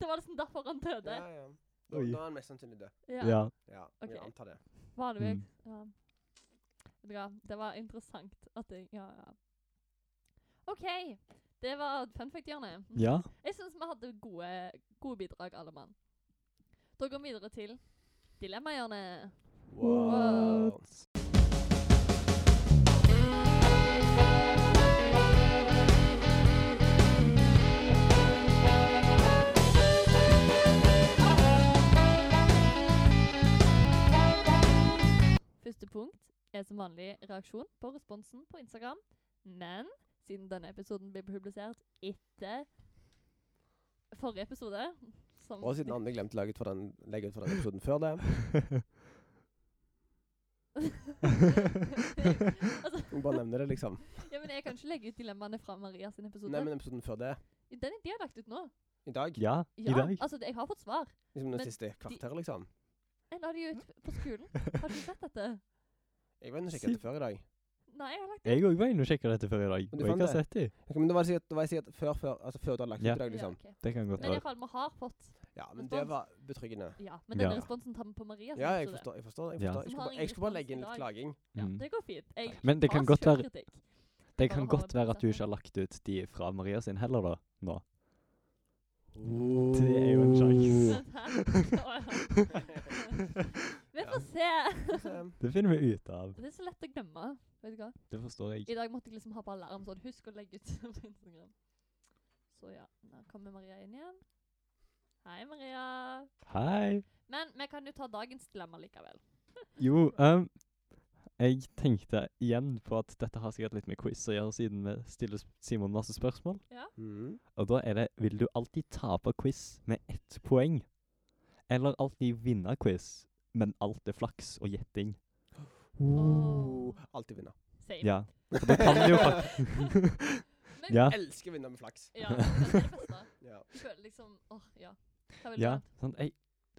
Speaker 3: Det var liksom derfor han døde.
Speaker 1: Ja, ja. Da,
Speaker 2: Oi.
Speaker 1: da er han mest sannsynlig død.
Speaker 3: Ja.
Speaker 2: ja.
Speaker 1: Ja, vi
Speaker 3: Ok.
Speaker 1: antar det.
Speaker 3: Vanligvis.
Speaker 2: Mm.
Speaker 3: Ja. Vet du hva, det var interessant at jeg Ja, ja. OK. Det var fun fact-hjørnet.
Speaker 2: Ja.
Speaker 3: Jeg syns vi hadde gode, gode bidrag, alle mann. Da går vi videre til Dilemmahjørnet.
Speaker 1: Wow.
Speaker 3: Første punkt er som vanlig reaksjon på responsen på Instagram. Men siden denne episoden blir publisert etter forrige episode som
Speaker 1: Og siden Anne glemte å legge ut for den, legge ut for den episoden før det.
Speaker 3: altså,
Speaker 1: Vi bare nevner det, liksom.
Speaker 3: ja, men jeg kan ikke legge ut dilemmaene fra Maria sin episode.
Speaker 1: Nei, men episoden før det.
Speaker 3: Den er de har lagt ut nå.
Speaker 1: I dag.
Speaker 2: ja. I
Speaker 3: Ja,
Speaker 2: dag.
Speaker 3: altså det- jeg har fått svar.
Speaker 1: Liksom det
Speaker 3: Men
Speaker 1: siste kvarteret, liksom.
Speaker 3: Jeg la de ut på skolen. Har du sett dette?
Speaker 1: Jeg var inne og sjekket det før i dag.
Speaker 3: Nei, jeg har lagt
Speaker 2: Jeg òg var inne og sjekka dette før i dag,
Speaker 1: Men
Speaker 2: og
Speaker 1: du
Speaker 2: jeg
Speaker 1: fant
Speaker 2: har
Speaker 1: det?
Speaker 2: sett de.
Speaker 1: Ok, men det var sikkert, det var sikkert før, før, altså før du hadde lagt ut
Speaker 2: Ja.
Speaker 1: i dag,
Speaker 3: ja,
Speaker 1: liksom.
Speaker 3: ok.
Speaker 2: Det kan godt
Speaker 3: Men
Speaker 2: være.
Speaker 3: iallfall, vi har fått
Speaker 1: Ja, men
Speaker 3: Respons.
Speaker 1: det var betryggende.
Speaker 3: Ja, men denne
Speaker 2: Ja.
Speaker 3: responsen tar vi på Maria sin
Speaker 1: Ja, jeg
Speaker 3: episode.
Speaker 1: forstår. Jeg forstår, jeg,
Speaker 2: Ja.
Speaker 1: forstår. jeg,
Speaker 3: Som
Speaker 1: skulle,
Speaker 3: har
Speaker 1: bare,
Speaker 3: ingen
Speaker 1: jeg skulle bare
Speaker 3: respons
Speaker 1: legge inn
Speaker 3: i dag.
Speaker 1: litt klaging.
Speaker 3: Ja,
Speaker 2: Mm.
Speaker 3: det går fint. Jeg
Speaker 2: Men det
Speaker 3: tar
Speaker 2: kan godt være-
Speaker 3: selvkritikk.
Speaker 2: Det
Speaker 3: Bare
Speaker 2: kan
Speaker 3: holde
Speaker 2: godt være at du
Speaker 3: prosenten.
Speaker 2: ikke har lagt ut de fra Maria sin heller, da. Nå. Det er jo en sjanse.
Speaker 3: Vent her. Å, ja. Vi får se.
Speaker 1: Så,
Speaker 2: Det finner vi ut av.
Speaker 3: Det er så lett å glemme. Vet du hva?
Speaker 2: Det forstår jeg.
Speaker 3: I dag måtte jeg liksom ha på alarm sånn Husk å legge ut på Instagram. Så ja, nå kommer Maria inn igjen. Hei, Maria.
Speaker 2: Hei.
Speaker 3: Men vi kan jo ta dagens dilemma likevel.
Speaker 2: Jo, ehm, jeg tenkte igjen på at dette har sikkert litt med quiz å gjøre, siden vi stiller s- Simon masse spørsmål.
Speaker 1: mm.
Speaker 2: Og da er det Vil du alltid tape quiz med ett poeng? Eller alltid vinne quiz, men alt er flaks og gjetting?
Speaker 1: Oh.
Speaker 3: Åh.
Speaker 1: Alltid vinne.
Speaker 3: Same.
Speaker 2: Ja. Og da kan du jo faktisk
Speaker 3: Men,
Speaker 2: Ja.
Speaker 1: Elsker å vinne med flaks.
Speaker 3: ja, det er det beste.
Speaker 1: Ja.
Speaker 3: Du føler liksom Åh, ja. Hva vil du
Speaker 2: Ja.
Speaker 3: ha?
Speaker 2: Sånn, jeg,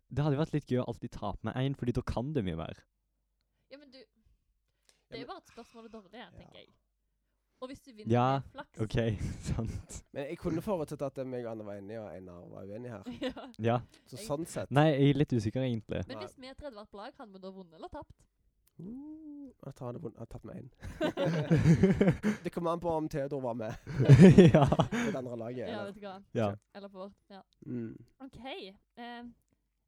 Speaker 2: det hadde jo vært litt gøy å alltid tape med én, fordi da kan du mye mer.
Speaker 3: Ja, men du Det er
Speaker 1: men-
Speaker 3: jo bare et spørsmål og dårlig, her,
Speaker 1: Ja.
Speaker 3: tenker jeg. Og hvis du vinner,
Speaker 2: Ja,
Speaker 3: er det flaks.
Speaker 2: OK, sant.
Speaker 1: Men jeg kunne forutsett at eh, meg og Anne var enige, og Einar var uenig her.
Speaker 3: ja.
Speaker 2: Ja.
Speaker 1: Så sånn sett
Speaker 2: Nei, jeg er litt usikker, egentlig.
Speaker 3: Men
Speaker 1: Nei.
Speaker 3: hvis vi er tredje hvert på lag, hadde vi da vunnet eller tapt?
Speaker 1: Uh, Jeg tar det vondt. Jeg har tapt med én. Det kommer an på om Theodor var med
Speaker 2: ja.
Speaker 1: på det andre laget.
Speaker 3: Ja,
Speaker 1: Eller?
Speaker 3: vet du hva.
Speaker 2: ja.
Speaker 3: Eller på vårt. Ja.
Speaker 1: Mm.
Speaker 3: OK. Eh,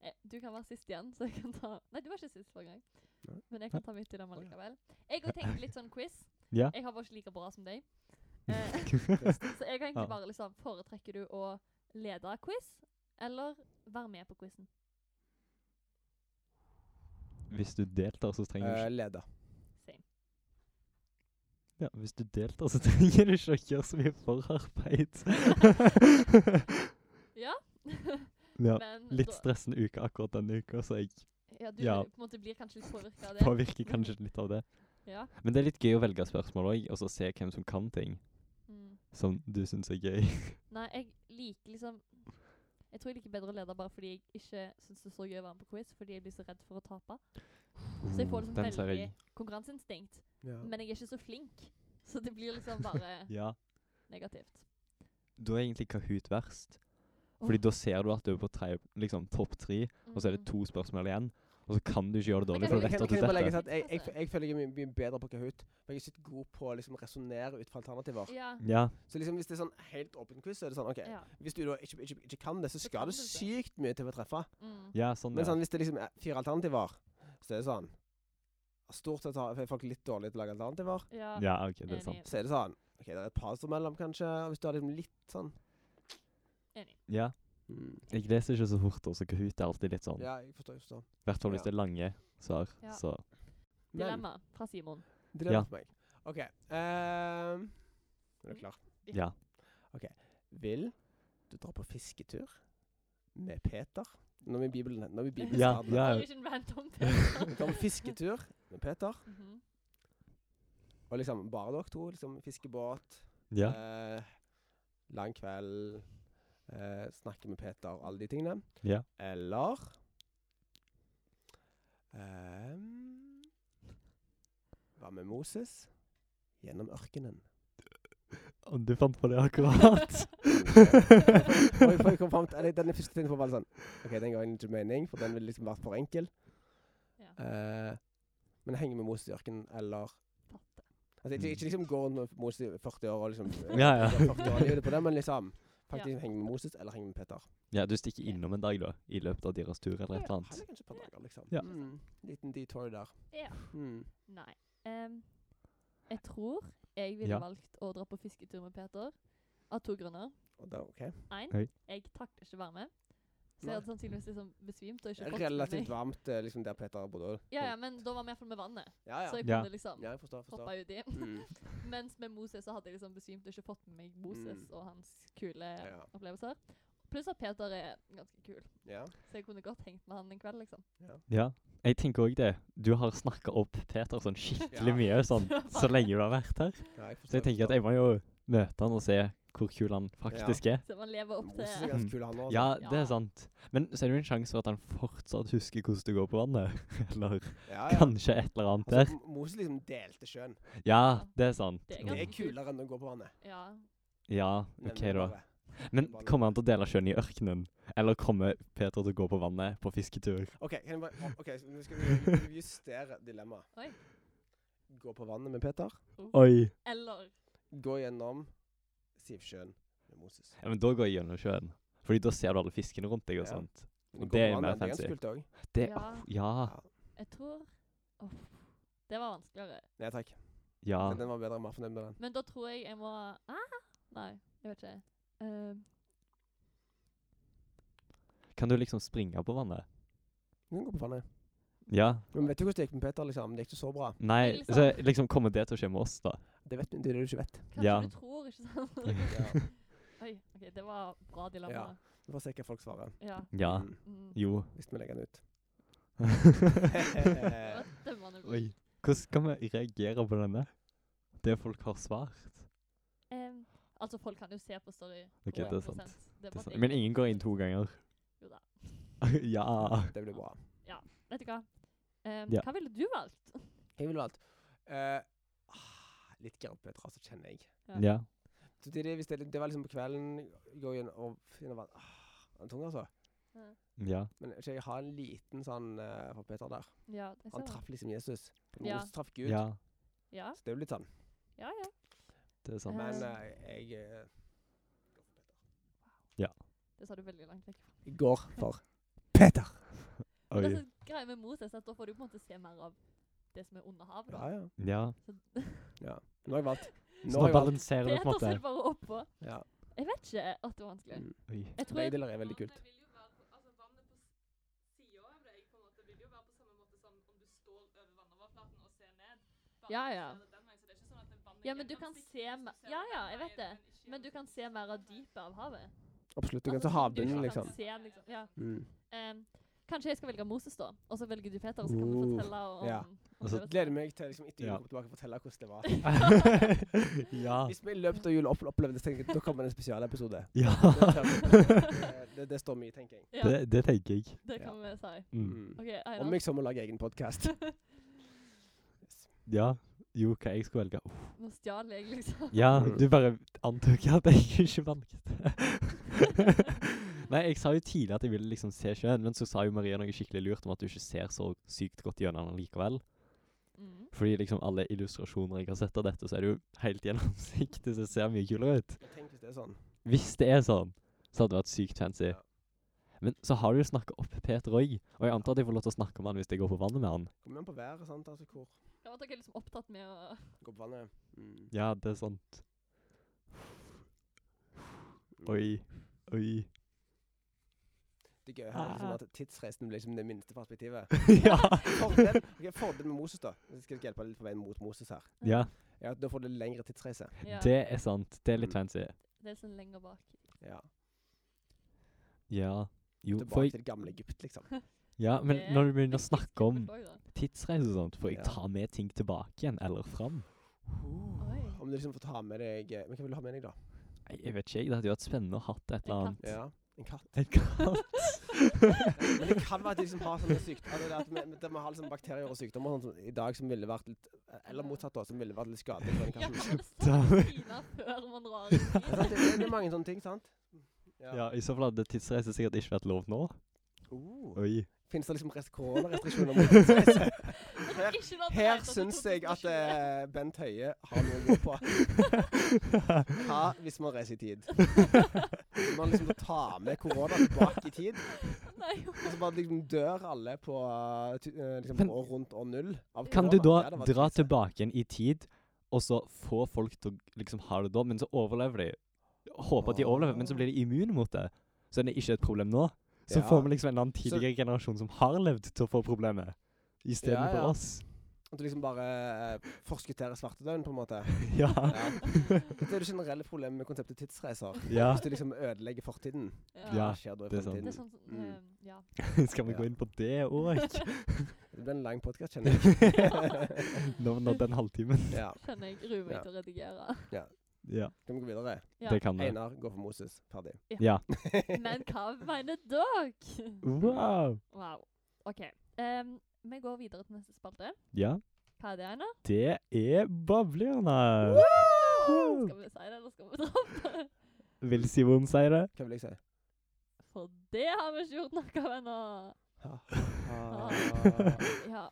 Speaker 3: eh, du kan være sist igjen, så jeg kan ta Nei, du var ikke sist forrige gang.
Speaker 1: Nei.
Speaker 3: Men jeg kan ta mitt i dem likevel. Jeg òg tenker litt sånn quiz.
Speaker 2: Ja.
Speaker 3: Jeg har bare ikke like bra som deg. Eh, så jeg
Speaker 2: Ja.
Speaker 3: kan egentlig bare liksom Foretrekker du å lede quiz, eller være med på quizen?
Speaker 2: Hvis du deltar, så trenger du
Speaker 1: Eh,
Speaker 2: ikke
Speaker 1: leder.
Speaker 3: Same.
Speaker 2: Ja, hvis du deltar, så trenger du ikke å gjøre så mye forarbeid.
Speaker 3: Ja.
Speaker 2: ja.
Speaker 3: Men
Speaker 2: Litt
Speaker 3: da-
Speaker 2: stressende uke akkurat denne uka, så jeg
Speaker 3: Ja, du
Speaker 2: Ja.
Speaker 3: på en måte blir kanskje litt påvirka av det.
Speaker 2: påvirker kanskje litt av det.
Speaker 3: Ja.
Speaker 2: Men det er litt gøy å velge spørsmål òg, og så se hvem som kan ting
Speaker 3: Mm.
Speaker 2: som du syns er gøy.
Speaker 3: Nei, jeg liker liksom Jeg tror jeg liker bedre å lede bare fordi jeg ikke syns det er så gøy å være med på quiz, fordi jeg blir så redd for å tape. Så jeg får liksom
Speaker 2: Den ser
Speaker 3: veldig
Speaker 2: jeg.
Speaker 3: konkurranseinstinkt.
Speaker 1: Ja.
Speaker 3: Men jeg er ikke så flink, så det blir liksom bare
Speaker 2: Ja.
Speaker 3: negativt.
Speaker 2: Da er egentlig Kahoot verst. Fordi da ser du at du er på tre, liksom, topp tre, og så er det
Speaker 3: Mm.
Speaker 2: to spørsmål igjen. Og så kan du ikke gjøre det
Speaker 3: Men
Speaker 2: dårlig,
Speaker 1: Kan,
Speaker 2: for
Speaker 3: Kahoot-
Speaker 1: kan,
Speaker 2: du vet
Speaker 1: kan
Speaker 2: at du
Speaker 1: jeg bare legge
Speaker 2: detter.
Speaker 1: til at jeg, jeg, jeg føler jeg er mye, mye bedre på Kahoot. Men jeg er ikke god på å liksom, resonnere ut fra alternativer.
Speaker 3: Ja.
Speaker 2: Ja.
Speaker 1: Så liksom, hvis det er sånn helt åpen quiz, så er det sånn OK.
Speaker 3: ja.
Speaker 1: Hvis du da ikke, ikke, ikke kan det, så
Speaker 3: Så
Speaker 1: skal
Speaker 3: kan
Speaker 1: det
Speaker 3: du det.
Speaker 1: sykt mye til å treffe.
Speaker 3: Mm.
Speaker 2: ja, sånn
Speaker 1: Men
Speaker 2: ja.
Speaker 1: sånn, hvis det liksom er fire alternativer, så er det sånn Stort sett har er folk litt dårlige til å lage alternativer.
Speaker 3: ja.
Speaker 2: Ja, OK, det er
Speaker 3: sånn- Enig.
Speaker 2: sant.
Speaker 1: Så er det sånn OK, det er et par som mellom, kanskje. og Hvis du har liksom litt sånn
Speaker 2: Ja.
Speaker 1: mm.
Speaker 2: Jeg leser ikke så fort, og så Kahoot er alltid litt sånn.
Speaker 1: Ja, jeg forstår. jeg forstår.
Speaker 2: I hvert fall
Speaker 1: Ja.
Speaker 2: hvis det er lange svar.
Speaker 3: Ja.
Speaker 2: Så
Speaker 1: Men
Speaker 3: Dilemma fra Simon.
Speaker 1: dilemma
Speaker 2: Ja.
Speaker 1: for meg. OK. ehm, er du klar?
Speaker 2: ja.
Speaker 1: Vil du dra på fisketur med Peter? Nå er vi i Bibelen. Nå er vi i Bibelen.
Speaker 2: Ja, ja.
Speaker 3: Det er ikke en random person.
Speaker 1: Dra på fisketur med Peter,
Speaker 3: Mhm.
Speaker 1: og liksom bare dere to. Liksom fiskebåt,
Speaker 2: ja.
Speaker 1: eh, lang kveld, eh, snakke med Peter, alle de tingene.
Speaker 2: Ja.
Speaker 1: Eller ehm, Hva med Moses? Gjennom ørkenen.
Speaker 2: Og du fant på det akkurat.
Speaker 1: Og jeg- for jeg kom frem til, eller denne første tiden på var det sånn OK, den ga egentlig ikke mening, for den ville liksom vært for enkel.
Speaker 3: Ja.
Speaker 1: Eh, men henge med Moses i ørkenen, eller Altså,
Speaker 3: Fatte.
Speaker 1: ikke, ikke liksom gå rundt med Moses i 40 år og liksom eh,
Speaker 2: Ja, ja.
Speaker 1: 40 år livet på det, men liksom faktisk henge med Moses eller henge med Peter.
Speaker 2: ja, du stikker innom en dag, da, i løpet av deres tur, eller et eller annet.
Speaker 1: Heller kanskje et par dager, liksom.
Speaker 2: Ja.
Speaker 1: Mm, liten detour der.
Speaker 3: Ja.
Speaker 1: Mm.
Speaker 3: Nei. Em, jeg tror jeg ville
Speaker 2: Ja.
Speaker 3: valgt å dra på fisketur med Peter av to grunner.
Speaker 1: Og da, OK.
Speaker 3: Én,
Speaker 2: Oi.
Speaker 3: jeg takler ikke varme. Så
Speaker 1: Nei.
Speaker 3: jeg hadde sannsynligvis liksom besvimt. Og ikke fått med
Speaker 1: Relativt
Speaker 3: meg-
Speaker 1: varmt eh, liksom der Peter bodde.
Speaker 3: Ja, ja, men da var vi iallfall med vannet,
Speaker 1: ja. ja.
Speaker 3: så jeg
Speaker 2: Ja.
Speaker 3: kunne liksom
Speaker 1: ja jeg forstår. forstår.
Speaker 3: hoppa uti.
Speaker 1: Mm.
Speaker 3: Mens med Moses så hadde jeg liksom besvimt og ikke fått med meg Moses
Speaker 1: Mm.
Speaker 3: og hans kule
Speaker 1: Ja.
Speaker 3: opplevelser. Pluss at Peter er ganske kul,
Speaker 1: ja.
Speaker 3: så jeg kunne godt hengt med han en kveld, liksom.
Speaker 2: Ja. Jeg tenker òg det. Du har snakka opp Peter sånn skikkelig mye sånn, så lenge du har vært her.
Speaker 1: ja, jeg forstår.
Speaker 2: Så jeg tenker at jeg må jo møte han og se hvor kul han faktisk er.
Speaker 3: Så man lever opp
Speaker 1: Moses er
Speaker 3: til
Speaker 1: ganske kul, han også.
Speaker 2: Ja,
Speaker 3: Ja.
Speaker 2: det er sant. Men så er det jo en sjanse for at han fortsatt husker hvordan det går på vannet. Eller
Speaker 1: Ja, ja.
Speaker 2: kanskje et eller annet der.
Speaker 1: Altså, M- Moses liksom delte sjøen.
Speaker 2: Ja, det er sant.
Speaker 3: Det er
Speaker 1: Det er
Speaker 3: ganske kult.
Speaker 1: kulere enn å gå på vannet.
Speaker 3: Ja.
Speaker 2: Ja, OK,
Speaker 1: Nevner
Speaker 2: da.
Speaker 1: bare.
Speaker 2: Men kommer han til å dele sjøen i ørkenen? Eller kommer Peter til å gå på vannet på fisketur?
Speaker 1: OK, kan jeg bare, ok, så nå skal vi vi justere dilemmaet.
Speaker 3: Oi.
Speaker 1: Gå på vannet med Peter.
Speaker 2: Oi!
Speaker 3: Eller
Speaker 1: Gå gjennom Sivsjøen med Moses.
Speaker 2: Ja, men da går jeg gjennom sjøen. Fordi da ser du alle fiskene rundt deg og
Speaker 1: Ja.
Speaker 2: sånt.
Speaker 1: Men
Speaker 2: Og
Speaker 1: gå
Speaker 2: det er
Speaker 1: på
Speaker 2: jo
Speaker 1: vannet,
Speaker 2: mer
Speaker 1: Det er
Speaker 2: fancy.
Speaker 1: ganske kult òg.
Speaker 2: Det
Speaker 3: Ja.
Speaker 2: åh, Ja.
Speaker 3: Jeg tror Uff. Det var vanskeligere.
Speaker 1: Nei takk.
Speaker 2: Ja.
Speaker 1: Men Den var bedre. Jeg var fornøyd med den.
Speaker 3: Men da tror jeg jeg må ah! Nei, jeg vet ikke. Eh,
Speaker 2: Kan du liksom springe på vannet?
Speaker 1: Du kan gå på vannet.
Speaker 2: Ja.
Speaker 1: Men vet du hvordan det gikk med Peter? liksom? Det gikk ikke så bra.
Speaker 2: Nei,
Speaker 3: Liksom.
Speaker 2: så liksom kommer det til å skje med oss, da?
Speaker 1: Det vet du, det er det du ikke vet.
Speaker 3: kanskje
Speaker 2: Ja.
Speaker 3: du tror, ikke sant?
Speaker 1: Ja.
Speaker 3: Oi, ok, det var bra dilemma.
Speaker 1: Vi får se hva folk svarer.
Speaker 3: Ja.
Speaker 2: Ja.
Speaker 1: Mm,
Speaker 3: Mm.
Speaker 2: Jo.
Speaker 1: hvis vi legger den ut.
Speaker 3: Det var et dømmende blikk.
Speaker 2: Oi. Hvordan skal vi reagere på denne? Det folk har svart?
Speaker 3: Em, altså, folk kan jo se på Story.
Speaker 2: Ok, det er sant.
Speaker 3: 100%. Det
Speaker 2: Det er
Speaker 3: bare
Speaker 2: sant.
Speaker 3: jeg-
Speaker 2: Men ingen går inn to ganger.
Speaker 3: Jo da.
Speaker 2: ja.
Speaker 1: Det blir bra.
Speaker 3: Vet du hva? Em,
Speaker 2: Ja.
Speaker 3: Hva ville du valgt?
Speaker 1: Jeg ville valgt eh, ah, litt Gerhard Petra, så kjenner jeg.
Speaker 2: Ja.
Speaker 1: Så det, det, hvis det, det var liksom på kvelden går inn og finner vann ah, Den er tung, altså.
Speaker 2: Ja.
Speaker 1: Men ikke, jeg har en liten sånn eh, for Peter der.
Speaker 3: Ja, det
Speaker 1: Han
Speaker 3: ser jeg.
Speaker 1: traff liksom Jesus. Men
Speaker 3: Ja.
Speaker 1: Moses traff Gud.
Speaker 2: ja.
Speaker 3: Ja,
Speaker 1: Så det er jo litt sånn.
Speaker 3: ja. ja.
Speaker 2: Det er sant.
Speaker 3: Eh.
Speaker 1: Men eh, jeg eh,
Speaker 3: Det sa du veldig langt vekk. fra.
Speaker 1: jeg går for Peter.
Speaker 2: Oi.
Speaker 3: Men det som er greia med Moses, er at da får du på en måte se mer av det som er under havet. da.
Speaker 1: Ja, ja.
Speaker 2: Ja.
Speaker 3: Så
Speaker 1: ja. Nå har jeg valgt. Nå
Speaker 2: Så
Speaker 1: har
Speaker 2: nå
Speaker 1: jeg valgt.
Speaker 2: balanserer du på en
Speaker 3: Peter
Speaker 2: måte.
Speaker 3: ser bare oppå.
Speaker 1: Ja.
Speaker 3: Jeg vet ikke at det var vanskelig.
Speaker 1: Mm.
Speaker 2: Oi.
Speaker 3: Jeg tror jeg,
Speaker 1: Begge deler er veldig kult.
Speaker 4: vil jo være på, altså vannet på sida av deg på en måte vil jo være på samme måte som om du står over vannoverflaten og ser ned. Bare
Speaker 3: Ja,
Speaker 4: du
Speaker 3: ja.
Speaker 4: ser det den veien, så det er ikke sånn at det vannet
Speaker 3: Ja, men du
Speaker 4: gjennomsiktig
Speaker 3: kan
Speaker 4: hvis
Speaker 3: se
Speaker 4: ser
Speaker 3: me-
Speaker 4: det
Speaker 3: Ja, ja,
Speaker 4: den
Speaker 3: jeg
Speaker 4: veien,
Speaker 3: vet det.
Speaker 4: ikke
Speaker 3: men du
Speaker 4: gjennomsiktig.
Speaker 3: kan se mer av dypet av havet.
Speaker 1: Absolutt. Du kan
Speaker 3: Altså,
Speaker 1: ta havbunnen,
Speaker 3: du
Speaker 1: liksom.
Speaker 3: Kan se, den, liksom. Ja.
Speaker 1: Mm.
Speaker 3: Em, kanskje jeg skal velge Moses, da. Og så velger du Peter, og så kan du
Speaker 1: Uh,
Speaker 3: fortelle om,
Speaker 1: ja.
Speaker 3: om
Speaker 2: Og så
Speaker 3: det.
Speaker 1: Altså, Gleder meg til liksom, etter jul
Speaker 2: Ja.
Speaker 1: å komme tilbake og fortelle hvordan det var.
Speaker 2: ja.
Speaker 1: Hvis vi i løpet av jul opp- opplevde det, tenker jeg da kommer det en spesialepisode.
Speaker 2: Ja.
Speaker 1: Det, det, det står mye, tenker jeg.
Speaker 3: Ja,
Speaker 2: Det, det tenker jeg.
Speaker 3: det kan vi si.
Speaker 2: Mm.
Speaker 1: Mm.
Speaker 3: OK, Einar.
Speaker 1: Om jeg så må lage egen podkast.
Speaker 2: Ja. Jo, hva jeg skulle velge. Uff.
Speaker 3: Nå stjal jeg, liksom.
Speaker 2: Ja,
Speaker 1: Mm.
Speaker 2: du bare antok at jeg ikke valgte. Nei, jeg sa jo tidlig at jeg ville liksom se sjøen, men så sa jo Maria noe skikkelig lurt om at du ikke ser så sykt godt gjennom den likevel.
Speaker 3: Mm.
Speaker 2: Fordi liksom alle illustrasjoner jeg har sett av dette, så er det jo helt gjennomsiktig, så det ser mye kulere ut.
Speaker 1: Tenk hvis det er sånn.
Speaker 2: Hvis det er sånn, så hadde det vært sykt fancy.
Speaker 1: Ja.
Speaker 2: Men så har du jo snakka opp Peter òg, og jeg antar at jeg får lov til å snakke om han hvis jeg går på vannet med han.
Speaker 1: Kommer an på været, sant. Altså hvor
Speaker 3: Jeg var ikke liksom opptatt med å
Speaker 1: går på vannet. Mm.
Speaker 2: Ja, det er sant. Oi. Oi.
Speaker 1: Det gøye her er liksom
Speaker 2: Ah.
Speaker 1: at tidsreisen blir liksom det minste perspektivet.
Speaker 2: ja.
Speaker 1: Fordel, ok, fordel med Moses, da. Jeg skal hjelpe litt på veien mot Moses her.
Speaker 2: ja,
Speaker 1: Ja, Da får du lengre tidsreise.
Speaker 3: ja,
Speaker 2: det er sant. Det er
Speaker 1: Mm.
Speaker 2: litt fancy.
Speaker 3: Det er sånn lenger bak.
Speaker 1: Ja.
Speaker 2: Ja. Jo, for
Speaker 1: Tilbake
Speaker 2: jeg,
Speaker 1: til det gamle Egypt, liksom.
Speaker 2: ja, men
Speaker 3: Det-
Speaker 2: når du begynner å snakke om
Speaker 3: Oi, da.
Speaker 2: tidsreise og sånt, får jeg
Speaker 1: Ja.
Speaker 2: ta med ting tilbake igjen, eller fram?
Speaker 3: Oi.
Speaker 1: Om du liksom får ta med deg eh, Men hva vil du ha med deg, da?
Speaker 2: Nei, jeg vet ikke, jeg. Det hadde jo vært spennende å hatt et
Speaker 3: En
Speaker 2: eller annet.
Speaker 1: Ja, En katt?
Speaker 2: En katt.
Speaker 1: Men det kan være at de liksom har sånne sykdommer altså det at vi- at vi har liksom bakterier og sykdommer og sånt, som i dag som ville vært litt Eller motsatt, da, som ville vært litt skadelig for den
Speaker 3: Ja,
Speaker 1: katten.
Speaker 3: sånn men Stina før man drar ut
Speaker 1: Sånn Det er sant,
Speaker 3: dit.
Speaker 1: Det, det er mange sånne ting, sant?
Speaker 2: Ja, I så fall hadde tidsreise sikkert ikke vært lov nå.
Speaker 1: Oh.
Speaker 2: Oi.
Speaker 1: Fins det liksom rest- koronarestriksjoner mot tidsreise? Her,
Speaker 3: Ikke når det sånn
Speaker 1: her
Speaker 3: heter
Speaker 1: syns jeg at
Speaker 3: 2020.
Speaker 1: eh, Bent Høie har noe å gå på. Hva hvis man reiser i tid? Når man liksom tar med korona tilbake i tid,
Speaker 3: Nei, jo.
Speaker 1: og så bare liksom dør alle på, eh, tu- eh, liksom
Speaker 2: Men-
Speaker 1: på år rundt år null. av
Speaker 2: Kan
Speaker 1: korona.
Speaker 2: du da
Speaker 1: Ja, det var
Speaker 2: dra
Speaker 1: krise.
Speaker 2: tilbake igjen i tid, og så få folk til å liksom ha det da, men så overlever de? Håper at de overlever, men så blir de immune mot det. Så det er ikke et problem nå. Så
Speaker 1: Ja.
Speaker 2: får vi liksom en annen tidligere generasjon som har levd til å få problemet,
Speaker 1: Ja,
Speaker 2: istedenfor
Speaker 1: ja.
Speaker 2: oss.
Speaker 1: At du liksom bare eh, forskutterer svartedauden, på en måte.
Speaker 2: Ja.
Speaker 1: Ja. Det er det generelle problemet med konseptet tidsreiser.
Speaker 2: ja.
Speaker 1: Hvis du liksom ødelegger fortiden,
Speaker 2: Ja,
Speaker 1: hva skjer da i
Speaker 2: det er sant.
Speaker 3: Det er
Speaker 1: fremtiden?
Speaker 3: sånn som
Speaker 1: Mm.
Speaker 3: eh, Ja.
Speaker 2: Skal vi
Speaker 1: Ja.
Speaker 2: gå inn på det òg?
Speaker 1: Det blir en lang podkast, kjenner jeg.
Speaker 2: Nå nådd den halvtimen.
Speaker 1: ja.
Speaker 3: Skjønner jeg. Gruer meg
Speaker 1: Ja.
Speaker 3: til å redigere.
Speaker 2: Ja,
Speaker 1: Kan vi gå videre?
Speaker 3: Ja.
Speaker 2: det kan vi.
Speaker 1: Einar går for Moses. Ferdig.
Speaker 2: Ja.
Speaker 3: Men hva mener dere?
Speaker 2: Wow.
Speaker 3: Wow. OK. Em, vi går videre til neste spalte.
Speaker 2: Ja,
Speaker 3: Hva er det, Einar?
Speaker 2: det er boblerne. Wow!
Speaker 3: Skal vi si det, eller skal vi droppe?
Speaker 2: Vil Simon si det?
Speaker 1: Hva vil jeg si?
Speaker 3: For det har vi ikke gjort noe av ennå.
Speaker 1: Ha,
Speaker 3: Ah. Ja.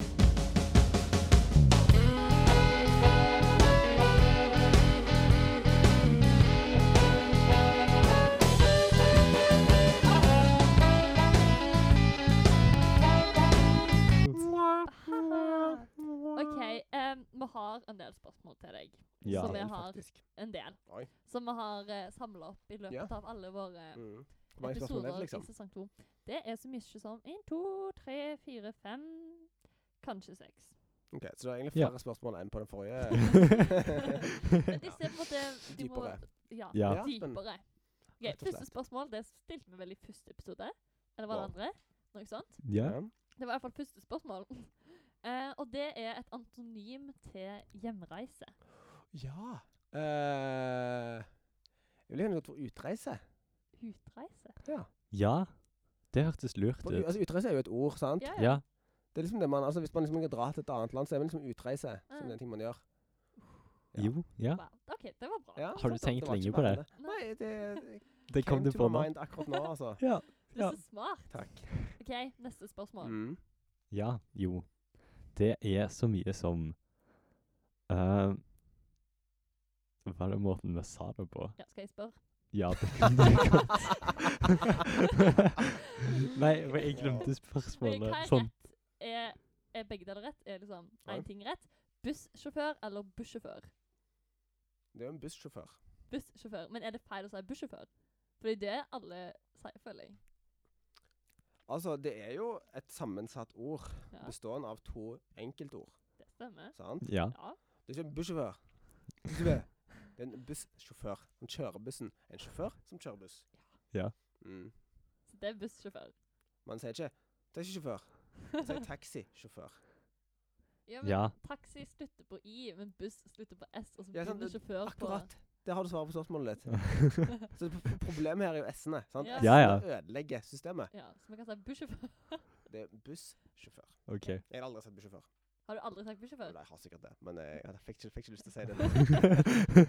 Speaker 3: OK, em, vi har en del spørsmål til deg.
Speaker 2: Ja.
Speaker 3: Som jeg har.
Speaker 1: Faktisk.
Speaker 3: En del.
Speaker 1: Oi.
Speaker 3: Som vi har uh, samla opp i løpet
Speaker 1: Ja.
Speaker 3: av alle våre
Speaker 1: Mm. Hvor mange spørsmål er
Speaker 3: episoder
Speaker 1: det, liksom?
Speaker 3: i sesong to. Det er så mye som én, to, tre, fire, fem Kanskje seks.
Speaker 1: Ok, Så det er egentlig
Speaker 2: Ja.
Speaker 1: flere spørsmål enn på den forrige.
Speaker 3: Men disse er på en måte de må-
Speaker 1: Dypere.
Speaker 3: Ja,
Speaker 2: Ja.
Speaker 1: Ja, spennende.
Speaker 3: dypere. Ok,
Speaker 1: Rett og
Speaker 3: første
Speaker 1: slett.
Speaker 3: spørsmål det stilte vi vel i første episode. Eller var det
Speaker 1: Wow.
Speaker 3: andre? Noe sånt.
Speaker 2: ja.
Speaker 1: Ja.
Speaker 3: Det var i hvert fall første spørsmål. Eh, og det er et antonym til hjemreise.
Speaker 1: ja. Eh, jeg ville gjerne gått for utreise.
Speaker 3: Utreise.
Speaker 1: Ja.
Speaker 2: Ja. Det hørtes lurt
Speaker 1: For, u-
Speaker 2: ut.
Speaker 1: altså, utreise er jo et ord, sant?
Speaker 3: Ja,
Speaker 2: Ja.
Speaker 1: Det er liksom det man, altså Hvis man liksom kan dra til et annet land, så er det liksom utreise. som
Speaker 3: Mm.
Speaker 1: den ting man gjør. Ja.
Speaker 2: Jo, ja.
Speaker 3: Wow. OK, det var bra.
Speaker 1: Ja,
Speaker 2: Har du
Speaker 1: sant, sant,
Speaker 2: tenkt
Speaker 1: var ikke
Speaker 2: lenge på det?
Speaker 1: spennende. Nei, det
Speaker 2: Det kom du
Speaker 1: to
Speaker 2: på
Speaker 1: my
Speaker 2: nå.
Speaker 1: mind akkurat nå, altså.
Speaker 2: Ja.
Speaker 3: Du er så smart.
Speaker 1: Takk.
Speaker 3: OK, neste spørsmål.
Speaker 1: Mm.
Speaker 2: Ja, jo. Det er så mye som eh, Hva er det måten vi sa det på?
Speaker 3: Ja, skal jeg spørre?
Speaker 2: Ja, det kan du godt. Nei, for jeg glemte
Speaker 3: Men hva
Speaker 2: spørsmålet.
Speaker 3: er
Speaker 2: Sånn.
Speaker 3: rett? Er, er begge deler rett? Er liksom
Speaker 1: Oi.
Speaker 3: én ting rett? Bussjåfør eller bussjåfør?
Speaker 1: Det er jo en bussjåfør.
Speaker 3: Bussjåfør. Men er det feil å si bussjåfør? Fordi det er alle sier, føler jeg.
Speaker 1: Altså, det er jo et sammensatt ord
Speaker 3: Ja,
Speaker 1: bestående av to enkeltord.
Speaker 3: det stemmer.
Speaker 1: Sant?
Speaker 2: Ja.
Speaker 3: Ja.
Speaker 1: Det er ikke en bussjåfør. Bussjåfør. Det er en bussjåfør som kjører bussen. En sjåfør som kjører buss.
Speaker 2: Ja.
Speaker 1: Mm.
Speaker 3: Så det er bussjåfør.
Speaker 1: Man sier ikke taxisjåfør. Man sier taxisjåfør.
Speaker 3: Ja, men
Speaker 2: ja.
Speaker 3: Taxi slutter på I, men buss slutter på S, og så
Speaker 1: Ja, sant,
Speaker 3: begynner sjåfør på
Speaker 1: Akkurat. Der har du svaret på spørsmålet ditt. Så p- p- Problemet her er jo S-ene. sant?
Speaker 3: Ja.
Speaker 2: Ja, ja.
Speaker 1: S-ene ødelegger systemet.
Speaker 3: Ja, så man kan si bussjåfør.
Speaker 1: Det er bussjåfør.
Speaker 2: OK.
Speaker 1: Jeg har aldri sett bussjåfør.
Speaker 3: Har du aldri sagt
Speaker 1: Eller
Speaker 3: bussjåfør?
Speaker 1: jeg har sikkert det, men jeg, jeg fikk, ikke, fikk ikke lyst til å si det. nå.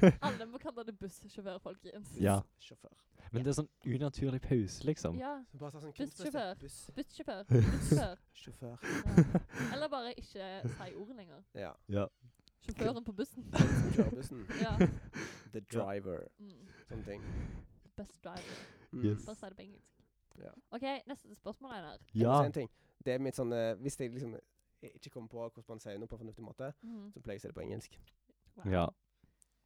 Speaker 2: Men
Speaker 3: Alle må kalle det bussjåfør, folkens.
Speaker 2: Ja.
Speaker 1: Bussjåfør.
Speaker 2: det er sånn unaturlig pause, liksom.
Speaker 3: Ja.
Speaker 1: Så Bare ta sånn kunstfest.
Speaker 3: Bussjåfør.
Speaker 1: Bussjåfør.
Speaker 3: Bussjåfør. Bussjåfør.
Speaker 1: Bussjåfør.
Speaker 3: Ja. Eller bare ikke si ordet lenger.
Speaker 1: Ja.
Speaker 2: Ja.
Speaker 3: Sjåføren på bussen.
Speaker 1: Den som kjører bussen.
Speaker 3: Ja.
Speaker 1: The driver.
Speaker 3: Mm.
Speaker 1: Sånne ting.
Speaker 3: Bus driver.
Speaker 1: Mm.
Speaker 2: Yes.
Speaker 3: Bare si det på engelsk.
Speaker 1: Ja.
Speaker 3: OK, neste spørsmål, Einar.
Speaker 1: Jeg må
Speaker 2: Ja.
Speaker 1: si en ting. Det er mitt sånn eh, Hvis jeg liksom eh, ikke kommer på hvordan man sier noe på en fornuftig måte,
Speaker 3: Mhm.
Speaker 1: så pleier jeg å si det på engelsk.
Speaker 2: ja.
Speaker 3: Wow. Ja.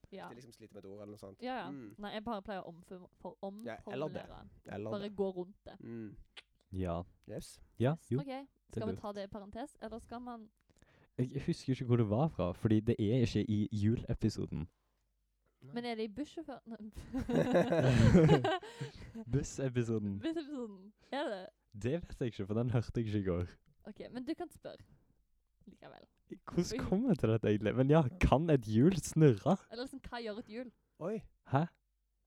Speaker 1: Hvis jeg liksom sliter med et ord eller noe sånt.
Speaker 3: Ja, ja.
Speaker 1: Mm.
Speaker 3: Nei, jeg bare pleier å omform- for-
Speaker 1: Ja, eller det.
Speaker 3: omformulere.
Speaker 1: Eller
Speaker 3: Bare gå rundt det.
Speaker 1: mm.
Speaker 2: Ja.
Speaker 1: Yes.
Speaker 2: Ja,
Speaker 3: Yes.
Speaker 2: jo.
Speaker 3: OK, skal vi
Speaker 2: lurt.
Speaker 3: ta det i parentes, eller skal man
Speaker 2: Jeg husker ikke hvor det var fra, fordi det er ikke i julepisoden.
Speaker 3: Men er det i bussjåfør... Nei.
Speaker 2: Bussepisoden.
Speaker 3: Bussepisoden. Er det det?
Speaker 2: Det vet jeg ikke, for den hørte jeg ikke i går.
Speaker 3: OK, men du kan spørre likevel. Oi.
Speaker 2: Hvordan kom jeg til dette egentlig? Men ja, kan et hjul snurre?
Speaker 3: Eller liksom, hva gjør et hjul?
Speaker 1: Oi.
Speaker 2: Hæ?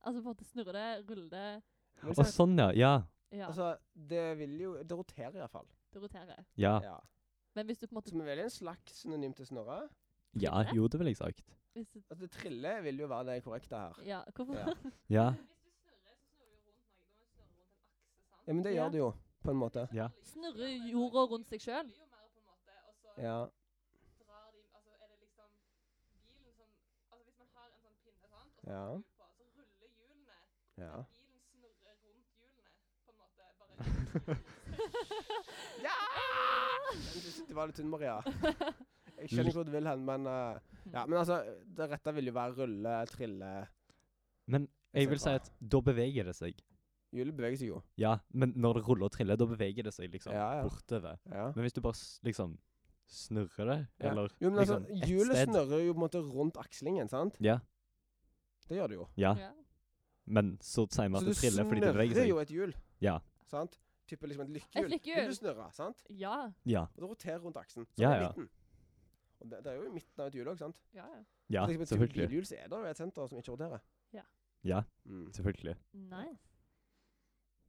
Speaker 3: Altså på en måte snurre det, rulle det
Speaker 1: Men
Speaker 2: Å,
Speaker 1: så-
Speaker 2: sånn ja. Ja.
Speaker 3: Ja,
Speaker 1: Altså, det vil jo Det roterer iallfall.
Speaker 3: det roterer.
Speaker 2: Ja.
Speaker 1: Ja.
Speaker 3: Men hvis du på en måte
Speaker 1: Så vi velger en slags synonym til snurre.
Speaker 2: ja jo, det ville jeg sagt.
Speaker 3: hvis du,
Speaker 1: Altså, trille vil jo være det korrekte her.
Speaker 3: Ja, hvorfor
Speaker 1: Ja.
Speaker 2: Ja.
Speaker 1: Ja, Men det
Speaker 3: Ja.
Speaker 1: gjør det jo, på en måte.
Speaker 2: Ja.
Speaker 3: Snurrer jorda rundt seg sjøl?
Speaker 1: Ja.
Speaker 4: altså, liksom sånn
Speaker 1: Ja. Ja. Jeg synes Det var litt tynn, Maria. Jeg skjønner ikke hvor du vil hen, men eh, Ja,
Speaker 3: Mm.
Speaker 1: men altså, det rette vil jo være rulle, trille
Speaker 2: Men jeg
Speaker 1: ser
Speaker 2: vil si
Speaker 1: bra.
Speaker 2: at da beveger det seg.
Speaker 1: Hjulet beveger seg jo.
Speaker 2: Ja, men når det ruller og triller, da beveger det seg liksom
Speaker 1: Ja, ja.
Speaker 2: bortover.
Speaker 1: Ja.
Speaker 2: Men hvis du bare s- liksom snurrer det,
Speaker 1: Ja.
Speaker 2: eller
Speaker 1: Jo, men altså,
Speaker 2: liksom ett
Speaker 1: hjulet
Speaker 2: sted
Speaker 1: snurrer jo på en måte rundt akslingen, sant?
Speaker 2: Ja,
Speaker 1: Det gjør det jo.
Speaker 2: ja.
Speaker 3: Ja.
Speaker 2: Men så sier vi
Speaker 1: Så
Speaker 2: at
Speaker 1: du
Speaker 2: det triller fordi det beveger seg.
Speaker 1: jo et hjul,
Speaker 2: Ja.
Speaker 1: sant? Type liksom et
Speaker 3: Et
Speaker 1: lykkehjul. Vil
Speaker 3: lykkehjul.
Speaker 1: du snurre, sant?
Speaker 3: Ja.
Speaker 2: Ja.
Speaker 1: Og det roterer rundt aksen. Så
Speaker 2: Ja,
Speaker 1: det er
Speaker 2: ja.
Speaker 1: midten. Og det, det er jo i midten av et hjul òg, sant?
Speaker 3: ja, ja.
Speaker 2: Ja,
Speaker 1: Så liksom et
Speaker 2: selvfølgelig.
Speaker 1: Bilhjul så er det jo et senter som ikke roterer.
Speaker 3: Ja.
Speaker 2: Ja.
Speaker 1: Mm.
Speaker 2: Selvfølgelig.
Speaker 3: Nice.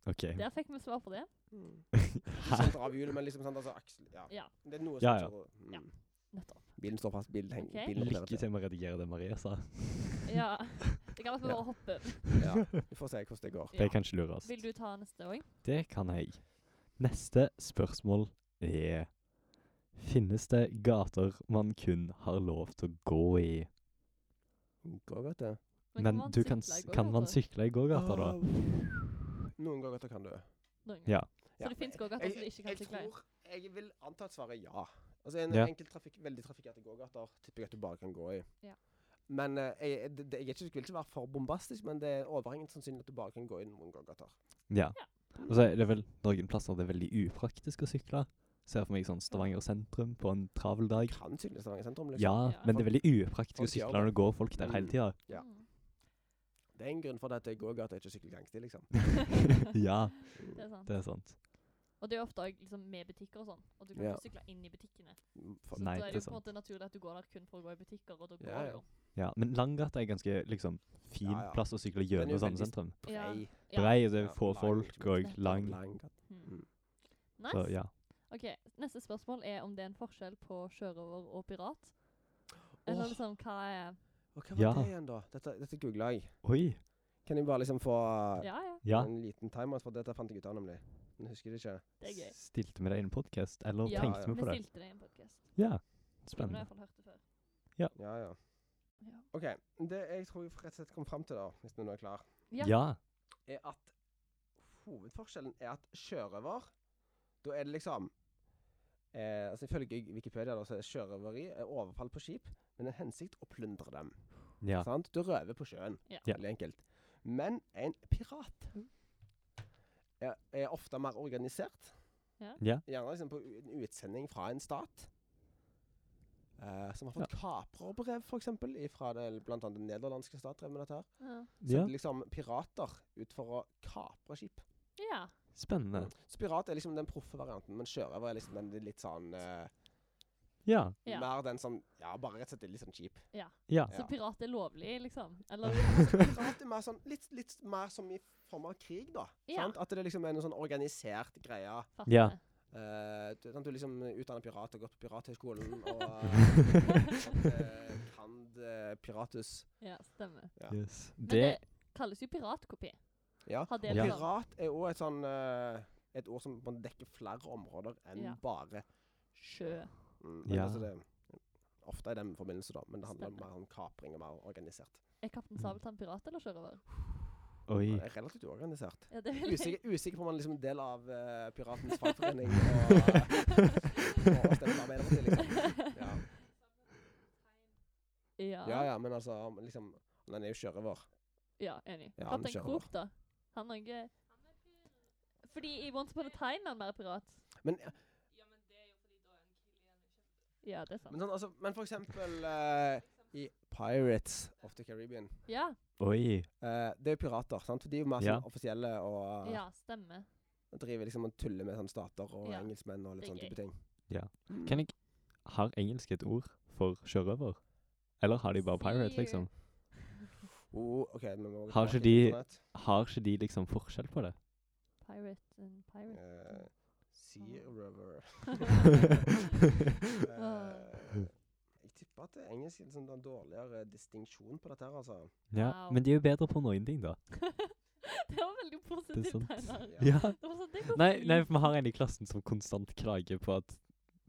Speaker 2: OK.
Speaker 3: Der fikk vi svar på det.
Speaker 1: Mm. Ikke
Speaker 2: Hæ?
Speaker 1: senter av hjulet, men liksom sant, altså aksel... Ja.
Speaker 3: Ja.
Speaker 1: Det er noe som
Speaker 2: Ja, ja.
Speaker 1: ikke roterer. Mm.
Speaker 3: Ja. Nettopp.
Speaker 1: Bilen står fast, bilen henger
Speaker 3: Ok.
Speaker 1: bilen roterer
Speaker 2: Lykke
Speaker 1: til.
Speaker 2: til med å redigere det Maria sa.
Speaker 3: Ja. Det kan være
Speaker 1: Ja.
Speaker 3: bare hoppe.
Speaker 1: Ja. Vi får se hvordan det går.
Speaker 2: Det
Speaker 3: Ja.
Speaker 2: er kanskje lurest.
Speaker 3: Vil du ta neste òg?
Speaker 2: Det kan jeg. Neste spørsmål er Finnes det gater man kun har lov til å gå i?
Speaker 1: Går godt, det.
Speaker 2: Men du kan, s- kan man sykle i gågata, da?
Speaker 1: Noen ganger kan du.
Speaker 2: Ja.
Speaker 3: Ja. Så det finnes gågater som du ikke kan sykle i?
Speaker 1: Jeg tror, jeg vil anta at svaret er ja. Altså En
Speaker 2: Ja.
Speaker 1: enkel trafikk, veldig trafikkerte gågater tipper jeg at du bare kan gå i.
Speaker 3: Ja.
Speaker 1: Men eh, jeg, det, det- jeg er ikke, vil ikke være for bombastisk, men det er overhengende sannsynlig at du bare kan gå i noen gågater.
Speaker 2: Ja. Og så er det vel noen plasser det er veldig upraktisk å sykle. Ser for meg sånn Stavanger sentrum på en travel dag.
Speaker 1: Kan sykle i Stavanger sentrum, liksom.
Speaker 2: Ja,
Speaker 3: Ja.
Speaker 2: men det er veldig upraktisk
Speaker 1: Folk
Speaker 2: å
Speaker 1: gjør
Speaker 2: sykle når det går folk der hele
Speaker 1: Mm.
Speaker 2: tida.
Speaker 1: Ja.
Speaker 3: Mm.
Speaker 1: Det er en grunn for at det er gågate, ikke sykkelgangsti, liksom.
Speaker 2: Ja,
Speaker 3: Det er sant.
Speaker 2: det er sant.
Speaker 3: Og det er ofte også liksom med butikker og sånn. Og du kan
Speaker 1: Ja.
Speaker 3: ikke sykle inn i butikkene.
Speaker 1: Mm,
Speaker 3: Så
Speaker 1: For,
Speaker 2: Nei,
Speaker 3: da er
Speaker 2: det er
Speaker 3: det jo på en måte naturlig at du går der kun for å gå i butikker, og da går
Speaker 1: Ja,
Speaker 3: du
Speaker 1: ja.
Speaker 3: jo.
Speaker 2: Ja, Men Langgata er ganske liksom fin
Speaker 1: Ja, ja.
Speaker 2: plass å sykle
Speaker 1: Den er jo
Speaker 2: gjennom samme
Speaker 1: veldig
Speaker 2: sentrum.
Speaker 3: Ja.
Speaker 1: brei,
Speaker 3: Ja.
Speaker 2: Brei, og det
Speaker 1: Ja,
Speaker 2: er få
Speaker 1: lang,
Speaker 2: folk,
Speaker 1: liksom.
Speaker 2: og lang.
Speaker 1: lang gate.
Speaker 3: Mm.
Speaker 1: Mm.
Speaker 3: Nice.
Speaker 2: Så ja.
Speaker 3: Ok, Neste spørsmål er om det er en forskjell på sjørøver og pirat. Eller
Speaker 1: Åh.
Speaker 3: liksom hva er
Speaker 1: Og hva var
Speaker 2: Ja.
Speaker 1: det igjen, da? Dette, dette googla jeg.
Speaker 2: Oi.
Speaker 1: Kan jeg bare liksom få
Speaker 3: Ja, ja.
Speaker 2: Ja.
Speaker 1: en liten timer? For dette fant jeg ut av, nemlig. Men husker det ikke.
Speaker 3: Det er gøy.
Speaker 2: Stilte vi det i en podkast, eller
Speaker 3: Ja,
Speaker 1: ja.
Speaker 2: tenkte vi
Speaker 3: Vi
Speaker 2: på det?
Speaker 3: stilte det i en podkast.
Speaker 2: Ja.
Speaker 3: Men jeg
Speaker 2: Spennende.
Speaker 3: har hørt det før.
Speaker 1: Ja, ja.
Speaker 3: Ja.
Speaker 1: OK. Det jeg tror jeg rett og slett kom fram til, da, hvis vi nå er klar,
Speaker 3: Ja.
Speaker 2: Ja.
Speaker 1: er at hovedforskjellen er at sjørøver, da er det liksom eh, altså Ifølge Wikipedia da, så er sjørøveri eh, overfall på skip med den hensikt å plyndre dem.
Speaker 2: Ja.
Speaker 1: Sant? Du røver på sjøen.
Speaker 3: Ja. Mm.
Speaker 2: Ja.
Speaker 1: Veldig enkelt. Men en pirat er, er ofte mer organisert.
Speaker 3: Ja.
Speaker 2: Ja.
Speaker 1: Gjerne liksom på u- en utsending fra en stat. eh, som har fått kaprebrev, f.eks., fra bl.a. den nederlandske stat. drev med dette her. Så
Speaker 3: Ja.
Speaker 2: ja.
Speaker 1: det er liksom pirater ut for å kapre skip.
Speaker 3: ja.
Speaker 2: Spennende.
Speaker 1: Så pirat er liksom den proffe varianten, men sjørøver er liksom den litt sånn eh,
Speaker 2: Ja.
Speaker 3: Ja.
Speaker 1: Mer den som Ja, bare rett og slett litt sånn kjip.
Speaker 2: Ja.
Speaker 1: Ja.
Speaker 3: Så pirat er lovlig, liksom? Eller
Speaker 1: Pirat er mer sånn, litt, litt mer som i form av krig, da.
Speaker 3: Ja.
Speaker 1: Sant? At det liksom er en sånn organisert greie.
Speaker 3: fatter
Speaker 2: Ja.
Speaker 3: det.
Speaker 1: Eh, du, sant, du liksom utdanner pirat og gått på pirathøgskolen og eh, kan eh, piratus.
Speaker 3: Ja, stemmer.
Speaker 1: Ja.
Speaker 2: Yes.
Speaker 3: Men
Speaker 2: Det
Speaker 3: det kalles jo piratkopi.
Speaker 1: Ja.
Speaker 3: Har det
Speaker 2: Ja.
Speaker 3: liksom-
Speaker 1: Pirat er òg et sånn eh, Et ord som man dekker flere områder enn
Speaker 3: Ja.
Speaker 1: bare
Speaker 3: Sjø.
Speaker 1: mm, men
Speaker 2: Ja.
Speaker 1: altså det, Ofte i den forbindelse, da. Men det handler
Speaker 3: Stemmer.
Speaker 1: mer om kapring og mer organisert.
Speaker 3: Er Kaptein Sabeltann pirat eller sjørøver?
Speaker 2: Oi.
Speaker 1: Det er relativt uorganisert.
Speaker 3: Ja, det vil jeg.
Speaker 1: Usikker, usikker på om han liksom er en del av eh, piratens fagforening og, og stemmer Arbeiderpartiet, liksom. Ja.
Speaker 3: Ja,
Speaker 1: ja
Speaker 3: ja,
Speaker 1: ja, men altså han liksom, Han er jo sjørøver.
Speaker 3: enig.
Speaker 1: Ja, han er
Speaker 3: Kaptein
Speaker 1: sjørøver.
Speaker 3: Krok, da. Han er ikke Fordi i Once upon a time er han mer pirat.
Speaker 1: Men,
Speaker 3: Ja, det er sant.
Speaker 1: men, sånn, altså, men for eksempel eh, i Pirates of the Caribbean
Speaker 3: Ja,
Speaker 2: Oi.
Speaker 1: eh, Det er jo pirater, sant? For de er jo mer
Speaker 2: Ja.
Speaker 1: sånn offisielle og
Speaker 3: ja stemmer.
Speaker 1: driver liksom og tuller med sånn stater og
Speaker 3: Ja.
Speaker 1: engelskmenn og litt
Speaker 3: Det er
Speaker 1: sånn type ting.
Speaker 2: Ja.
Speaker 1: Mm.
Speaker 2: Kan jeg Har engelsk et ord for sjørøver? Eller har de bare pirate,
Speaker 3: Sea-
Speaker 2: liksom?
Speaker 1: Oh, ok, men vi må gå
Speaker 2: Har
Speaker 1: tilbake
Speaker 2: ikke
Speaker 1: til
Speaker 2: de-
Speaker 1: internett.
Speaker 2: Har ikke de liksom forskjell på det?
Speaker 3: Pirate and pirate.
Speaker 1: Eh, Sea Rover. Eh, jeg tipper at det er engelsk en sånn en dårligere distinksjon på dette her, altså.
Speaker 2: Ja,
Speaker 3: Wow.
Speaker 2: Men de er jo bedre på noen ting, da.
Speaker 3: det var veldig
Speaker 2: Det er
Speaker 3: positivt,
Speaker 2: sant.
Speaker 3: Einar.
Speaker 1: Ja.
Speaker 2: Ja.
Speaker 3: Det var sånn, det går
Speaker 2: Nei, nei,
Speaker 3: fint.
Speaker 2: for vi har en i klassen som konstant klager på at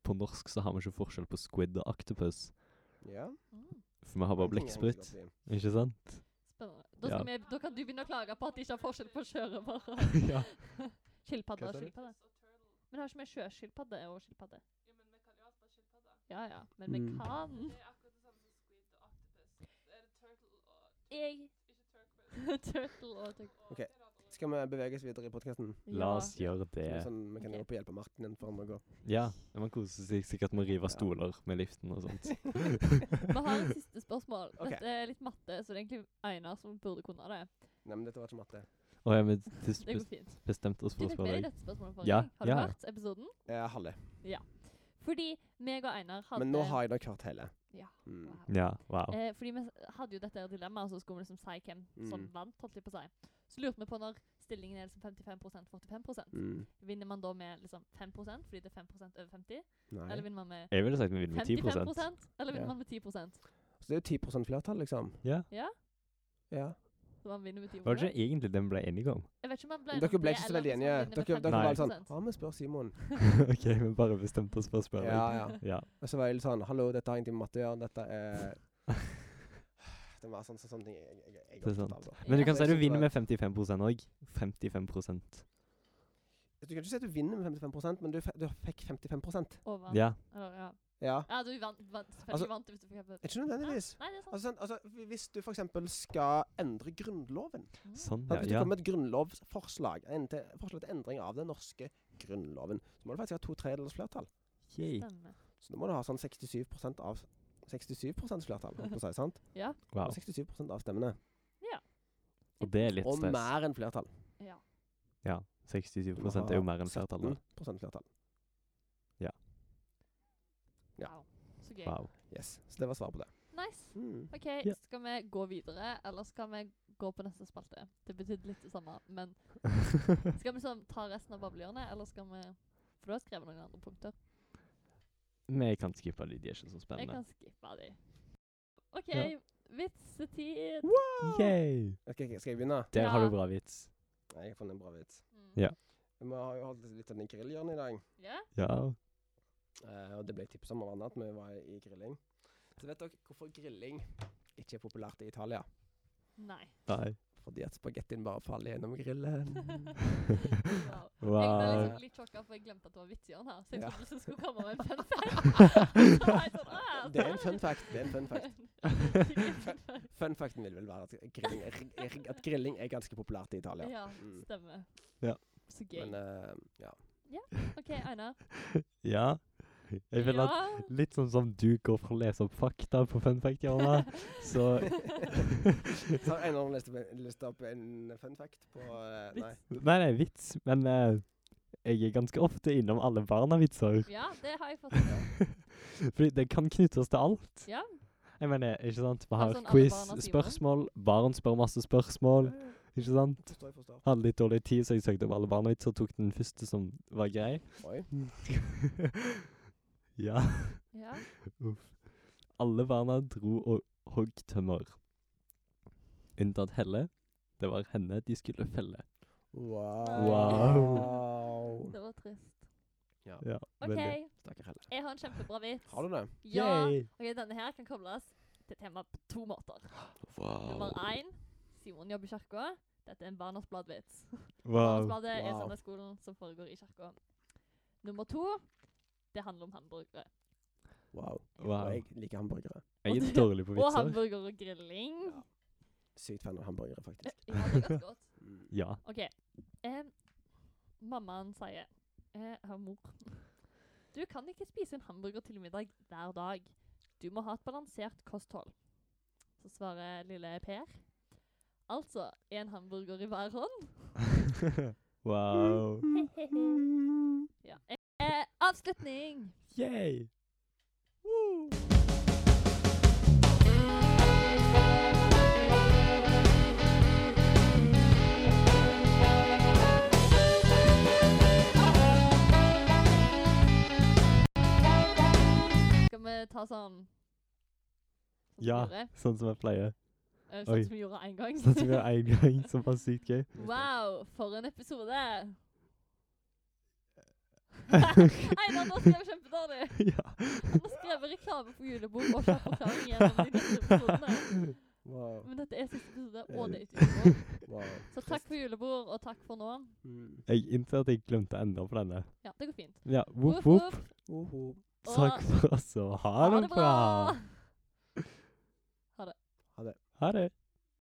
Speaker 2: på norsk så har vi ikke forskjell på squid og octopus.
Speaker 1: ja.
Speaker 3: Mm,
Speaker 2: For vi har bare
Speaker 1: den tenker jeg
Speaker 2: blekksprut,
Speaker 1: egentlig at
Speaker 2: ikke sant?
Speaker 3: Spennende. Da, skal vi, da kan du begynne å klage på at de ikke har forskjell på sjørøver og
Speaker 2: ja.
Speaker 3: skilpadder.
Speaker 1: Hva
Speaker 3: og
Speaker 1: sa du?
Speaker 3: skilpadder. Men har ikke vi sjøskilpadde og skilpadde? Ja, ja, men vi
Speaker 1: Mm.
Speaker 3: kan Jeg Turtle og turtle.
Speaker 1: vi- Skal vi bevege oss videre i podkasten?
Speaker 2: La oss gjøre det.
Speaker 1: Sånn, vi kan
Speaker 3: Ok.
Speaker 1: jo på hjelp av Martin før vi går.
Speaker 2: Ja. Man koser seg sikkert med å rive
Speaker 1: Ja.
Speaker 2: stoler med liften og sånt.
Speaker 3: Vi har et siste spørsmål.
Speaker 1: Ok.
Speaker 3: Dette er litt matte, så det er egentlig Einar som burde kunne det.
Speaker 1: Nei, men dette var ikke matte.
Speaker 2: Og ja, vi til
Speaker 3: Det går
Speaker 2: slutt
Speaker 3: fint.
Speaker 2: bestemte oss
Speaker 3: Du
Speaker 2: for å
Speaker 3: fikk med
Speaker 2: spørre
Speaker 3: deg
Speaker 2: deg.
Speaker 3: dette spørsmålet forrige
Speaker 2: Ja,
Speaker 3: gang. Har du
Speaker 2: ja, ja.
Speaker 3: hørt episoden?
Speaker 1: Eh, halve.
Speaker 3: Fordi meg og Einar hadde
Speaker 1: Men nå har jeg nok hørt hele.
Speaker 3: Ja.
Speaker 1: Mm.
Speaker 3: Wow.
Speaker 2: Ja, wow.
Speaker 3: Eh, fordi vi s- hadde jo dette her dilemmaet, så skulle vi liksom si hvem som
Speaker 1: Mm.
Speaker 3: vant. holdt jeg på å si. Så lurte vi på når stillingen er liksom 55 45
Speaker 1: Mm.
Speaker 3: Vinner man da med liksom 5 fordi det er 5 over 50?
Speaker 1: Nei.
Speaker 3: Eller vinner man med
Speaker 2: Jeg ville sagt vi vinner med 10
Speaker 3: 55 Eller vinner
Speaker 1: Ja.
Speaker 3: man med 10
Speaker 1: Så det er jo 10 flertall, liksom.
Speaker 2: Ja.
Speaker 3: Ja,
Speaker 1: Ja.
Speaker 3: så man vinner med 10
Speaker 2: Var det ikke egentlig det vi ble enige om?
Speaker 3: Jeg vet ikke om man ble
Speaker 1: Men Dere ble ikke så veldig enige. Dere, dere var
Speaker 2: Nei.
Speaker 1: litt sånn Ja, vi spør Simon.
Speaker 2: OK, vi bare bestemte oss for å spørre
Speaker 1: Ja,
Speaker 2: deg.
Speaker 1: ja.
Speaker 2: Ja.
Speaker 1: Og så var jeg litt sånn Hallo, dette har ingenting med matte å gjøre. Dette er Det var sånn, sånn, sånn ting jeg, altså. jeg, jeg, jeg
Speaker 2: Det er
Speaker 1: er opptatt
Speaker 2: sant.
Speaker 1: av. da.
Speaker 2: Men du kan
Speaker 1: Jeg
Speaker 2: si du
Speaker 1: synes det
Speaker 2: vinner
Speaker 1: var-
Speaker 2: med 55 òg. 55
Speaker 1: Du kan ikke si at du vinner med 55 men du, fe- du fikk 55
Speaker 3: Over.
Speaker 2: Ja.
Speaker 3: Eller, ja.
Speaker 1: Ja.
Speaker 3: ja, du vant. vant selvfølgelig
Speaker 1: Altså-
Speaker 3: vant du hvis du fikk
Speaker 1: Ikke nødvendigvis.
Speaker 3: Nei, det er sant.
Speaker 1: Altså, sånn, altså, hvis du f.eks. skal endre Grunnloven
Speaker 2: Sånn,
Speaker 1: Sant? Hvis det
Speaker 2: ja.
Speaker 1: kommer et grunnlovsforslag, en til, forslag til endring av den norske grunnloven, så må du faktisk ha to tredjedels flertall.
Speaker 2: ja. Yay.
Speaker 3: Stemmer.
Speaker 1: Så da må du ha sånn 67 av 67 flertall, holdt på å si. sant?
Speaker 2: Wow.
Speaker 1: Og 67 av stemmene.
Speaker 2: Og det er litt
Speaker 1: Og
Speaker 2: stress.
Speaker 1: mer enn flertall.
Speaker 3: Ja.
Speaker 2: Ja. 67 er jo mer enn flertallet.
Speaker 1: 17 flertall. Ja.
Speaker 3: Wow. Så gøy.
Speaker 2: Wow.
Speaker 1: Yes. Så det var svaret på det.
Speaker 3: Nice.
Speaker 1: Mm.
Speaker 3: OK,
Speaker 2: Ja.
Speaker 3: skal vi gå videre, eller skal vi gå på neste spalte? Det betydde litt det samme, men skal vi liksom ta resten av bablehjørnet, eller skal vi For du har skrevet noen andre punkter.
Speaker 2: Men jeg kan skippe de, de er ikke så
Speaker 3: Jeg
Speaker 2: spennende.
Speaker 3: kan skippe de. OK,
Speaker 2: Ja.
Speaker 3: Vitsetid.
Speaker 2: Yay!
Speaker 1: Ok, ok, skal jeg begynne?
Speaker 2: Der har
Speaker 3: Ja.
Speaker 2: du bra vits.
Speaker 1: Nei, jeg har funnet en bra vits.
Speaker 3: Mm.
Speaker 2: Ja.
Speaker 1: Vi har jo hatt litt av den grillhjørnet i dag.
Speaker 3: Ja?
Speaker 2: Ja.
Speaker 1: Eh, og det ble tipset om av andre at vi var i grilling. Så vet dere hvorfor grilling ikke er populært i Italia?
Speaker 3: Nei.
Speaker 2: Nei.
Speaker 1: Fordi at spagettien bare faller gjennom grillen.
Speaker 3: Wow. Jeg ble
Speaker 2: Wow.
Speaker 3: liksom litt sjokka, for jeg glemte at det var Vitsion her. Så jeg
Speaker 1: Ja.
Speaker 3: trodde du skulle komme med en fun fact. Så var jeg sånn, «Ah,
Speaker 1: Det er en fun fact. Det er en fun fact.
Speaker 3: fact.
Speaker 1: Fun facten vil vel være at grilling er, er, at grilling er ganske populært i Italia.
Speaker 3: Ja,
Speaker 1: Mm.
Speaker 3: stemmer.
Speaker 2: Ja.
Speaker 3: Så gøy.
Speaker 1: Men eh, ja.
Speaker 3: OK, Einar.
Speaker 2: Ja. Jeg føler at litt sånn som du går for å lese opp fakta på fun fact-hjørnet, så
Speaker 1: Så har en av dere lyst til å- lyst til å opp en fun fact på eh, Nei.
Speaker 2: Nei, nei, vits, men eh, jeg er ganske ofte innom alle barna-vitser.
Speaker 3: Ja, det har jeg fått til.
Speaker 2: Fordi det kan knyttes til alt.
Speaker 3: Ja.
Speaker 2: Jeg mener, ikke sant? Vi har
Speaker 3: sånn alle
Speaker 2: quiz,
Speaker 3: barna sier det. Mm.
Speaker 2: spørsmål, barn spør masse spørsmål, ikke sant?
Speaker 1: Forstår, jeg forstår.
Speaker 2: Hadde litt dårlig tid, så jeg søkte opp alle barna-vitser og tok den første som var grei.
Speaker 1: Oi.
Speaker 2: ja.
Speaker 3: Ja.
Speaker 2: Alle barna dro og hogg tømmer. Unntatt Helle. Det var henne de skulle felle.
Speaker 1: Wow.
Speaker 3: Det var trist.
Speaker 1: Ja.
Speaker 2: Ja,
Speaker 3: OK,
Speaker 2: veldig.
Speaker 1: Stakkar heller.
Speaker 3: jeg har en kjempebra vits.
Speaker 1: Har du det?
Speaker 3: Ja.
Speaker 2: Yay.
Speaker 3: OK, denne her kan kobles til tema på to måter. Nummer
Speaker 2: Wow.
Speaker 3: én Simon jobber i kirka. Dette er en Barnas Blad-vits.
Speaker 2: wow.
Speaker 3: Barnas Blad er
Speaker 1: Wow.
Speaker 3: søndagsskolen som foregår i kirka. Nummer to det handler om hamburgere.
Speaker 1: Wow.
Speaker 2: Wow.
Speaker 1: Og jeg liker hamburgere.
Speaker 2: Jeg er dårlig på
Speaker 3: Og
Speaker 2: vitser.
Speaker 3: hamburger og grilling.
Speaker 1: Sykt fan av hamburgere, faktisk.
Speaker 3: Ja, det er ganske godt.
Speaker 1: Mm.
Speaker 2: Ja.
Speaker 3: OK. Eh, mammaen sier eh, Her, mor. Du kan ikke spise en hamburger til middag hver dag. Du må ha et balansert kosthold. Så svarer lille Per. Altså en hamburger i hver hånd.
Speaker 2: wow.
Speaker 3: Ja. Eh, avslutning!
Speaker 2: Yay.
Speaker 3: Skal vi ta sånn Sånn som vi
Speaker 2: Ja,
Speaker 3: gjorde?
Speaker 2: sånn som jeg pleier.
Speaker 3: Eh,
Speaker 2: oi.
Speaker 3: Sånn som vi gjorde én gang.
Speaker 2: Sånn som vi har en gang, som var sykt gøy.
Speaker 3: Wow, for en episode! Einar, nå skrev jeg kjempedårlig.
Speaker 2: ja.
Speaker 3: Han har skrevet reklame på julebord og kjøpeforklaring gjennom de neste episodene.
Speaker 1: Mm. Wow.
Speaker 3: Men dette er siste episode, og det er ikke julebord.
Speaker 1: wow.
Speaker 3: Så takk for julebord, og takk for nå.
Speaker 1: Mm.
Speaker 2: Jeg innser at jeg glemte å endre på denne.
Speaker 3: Ja, det går fint.
Speaker 2: Ja, voff, voff.
Speaker 1: Uhu.
Speaker 3: og
Speaker 2: Takk 아, for oss, og ha det bra.
Speaker 3: Ha det bra!
Speaker 2: Ha det.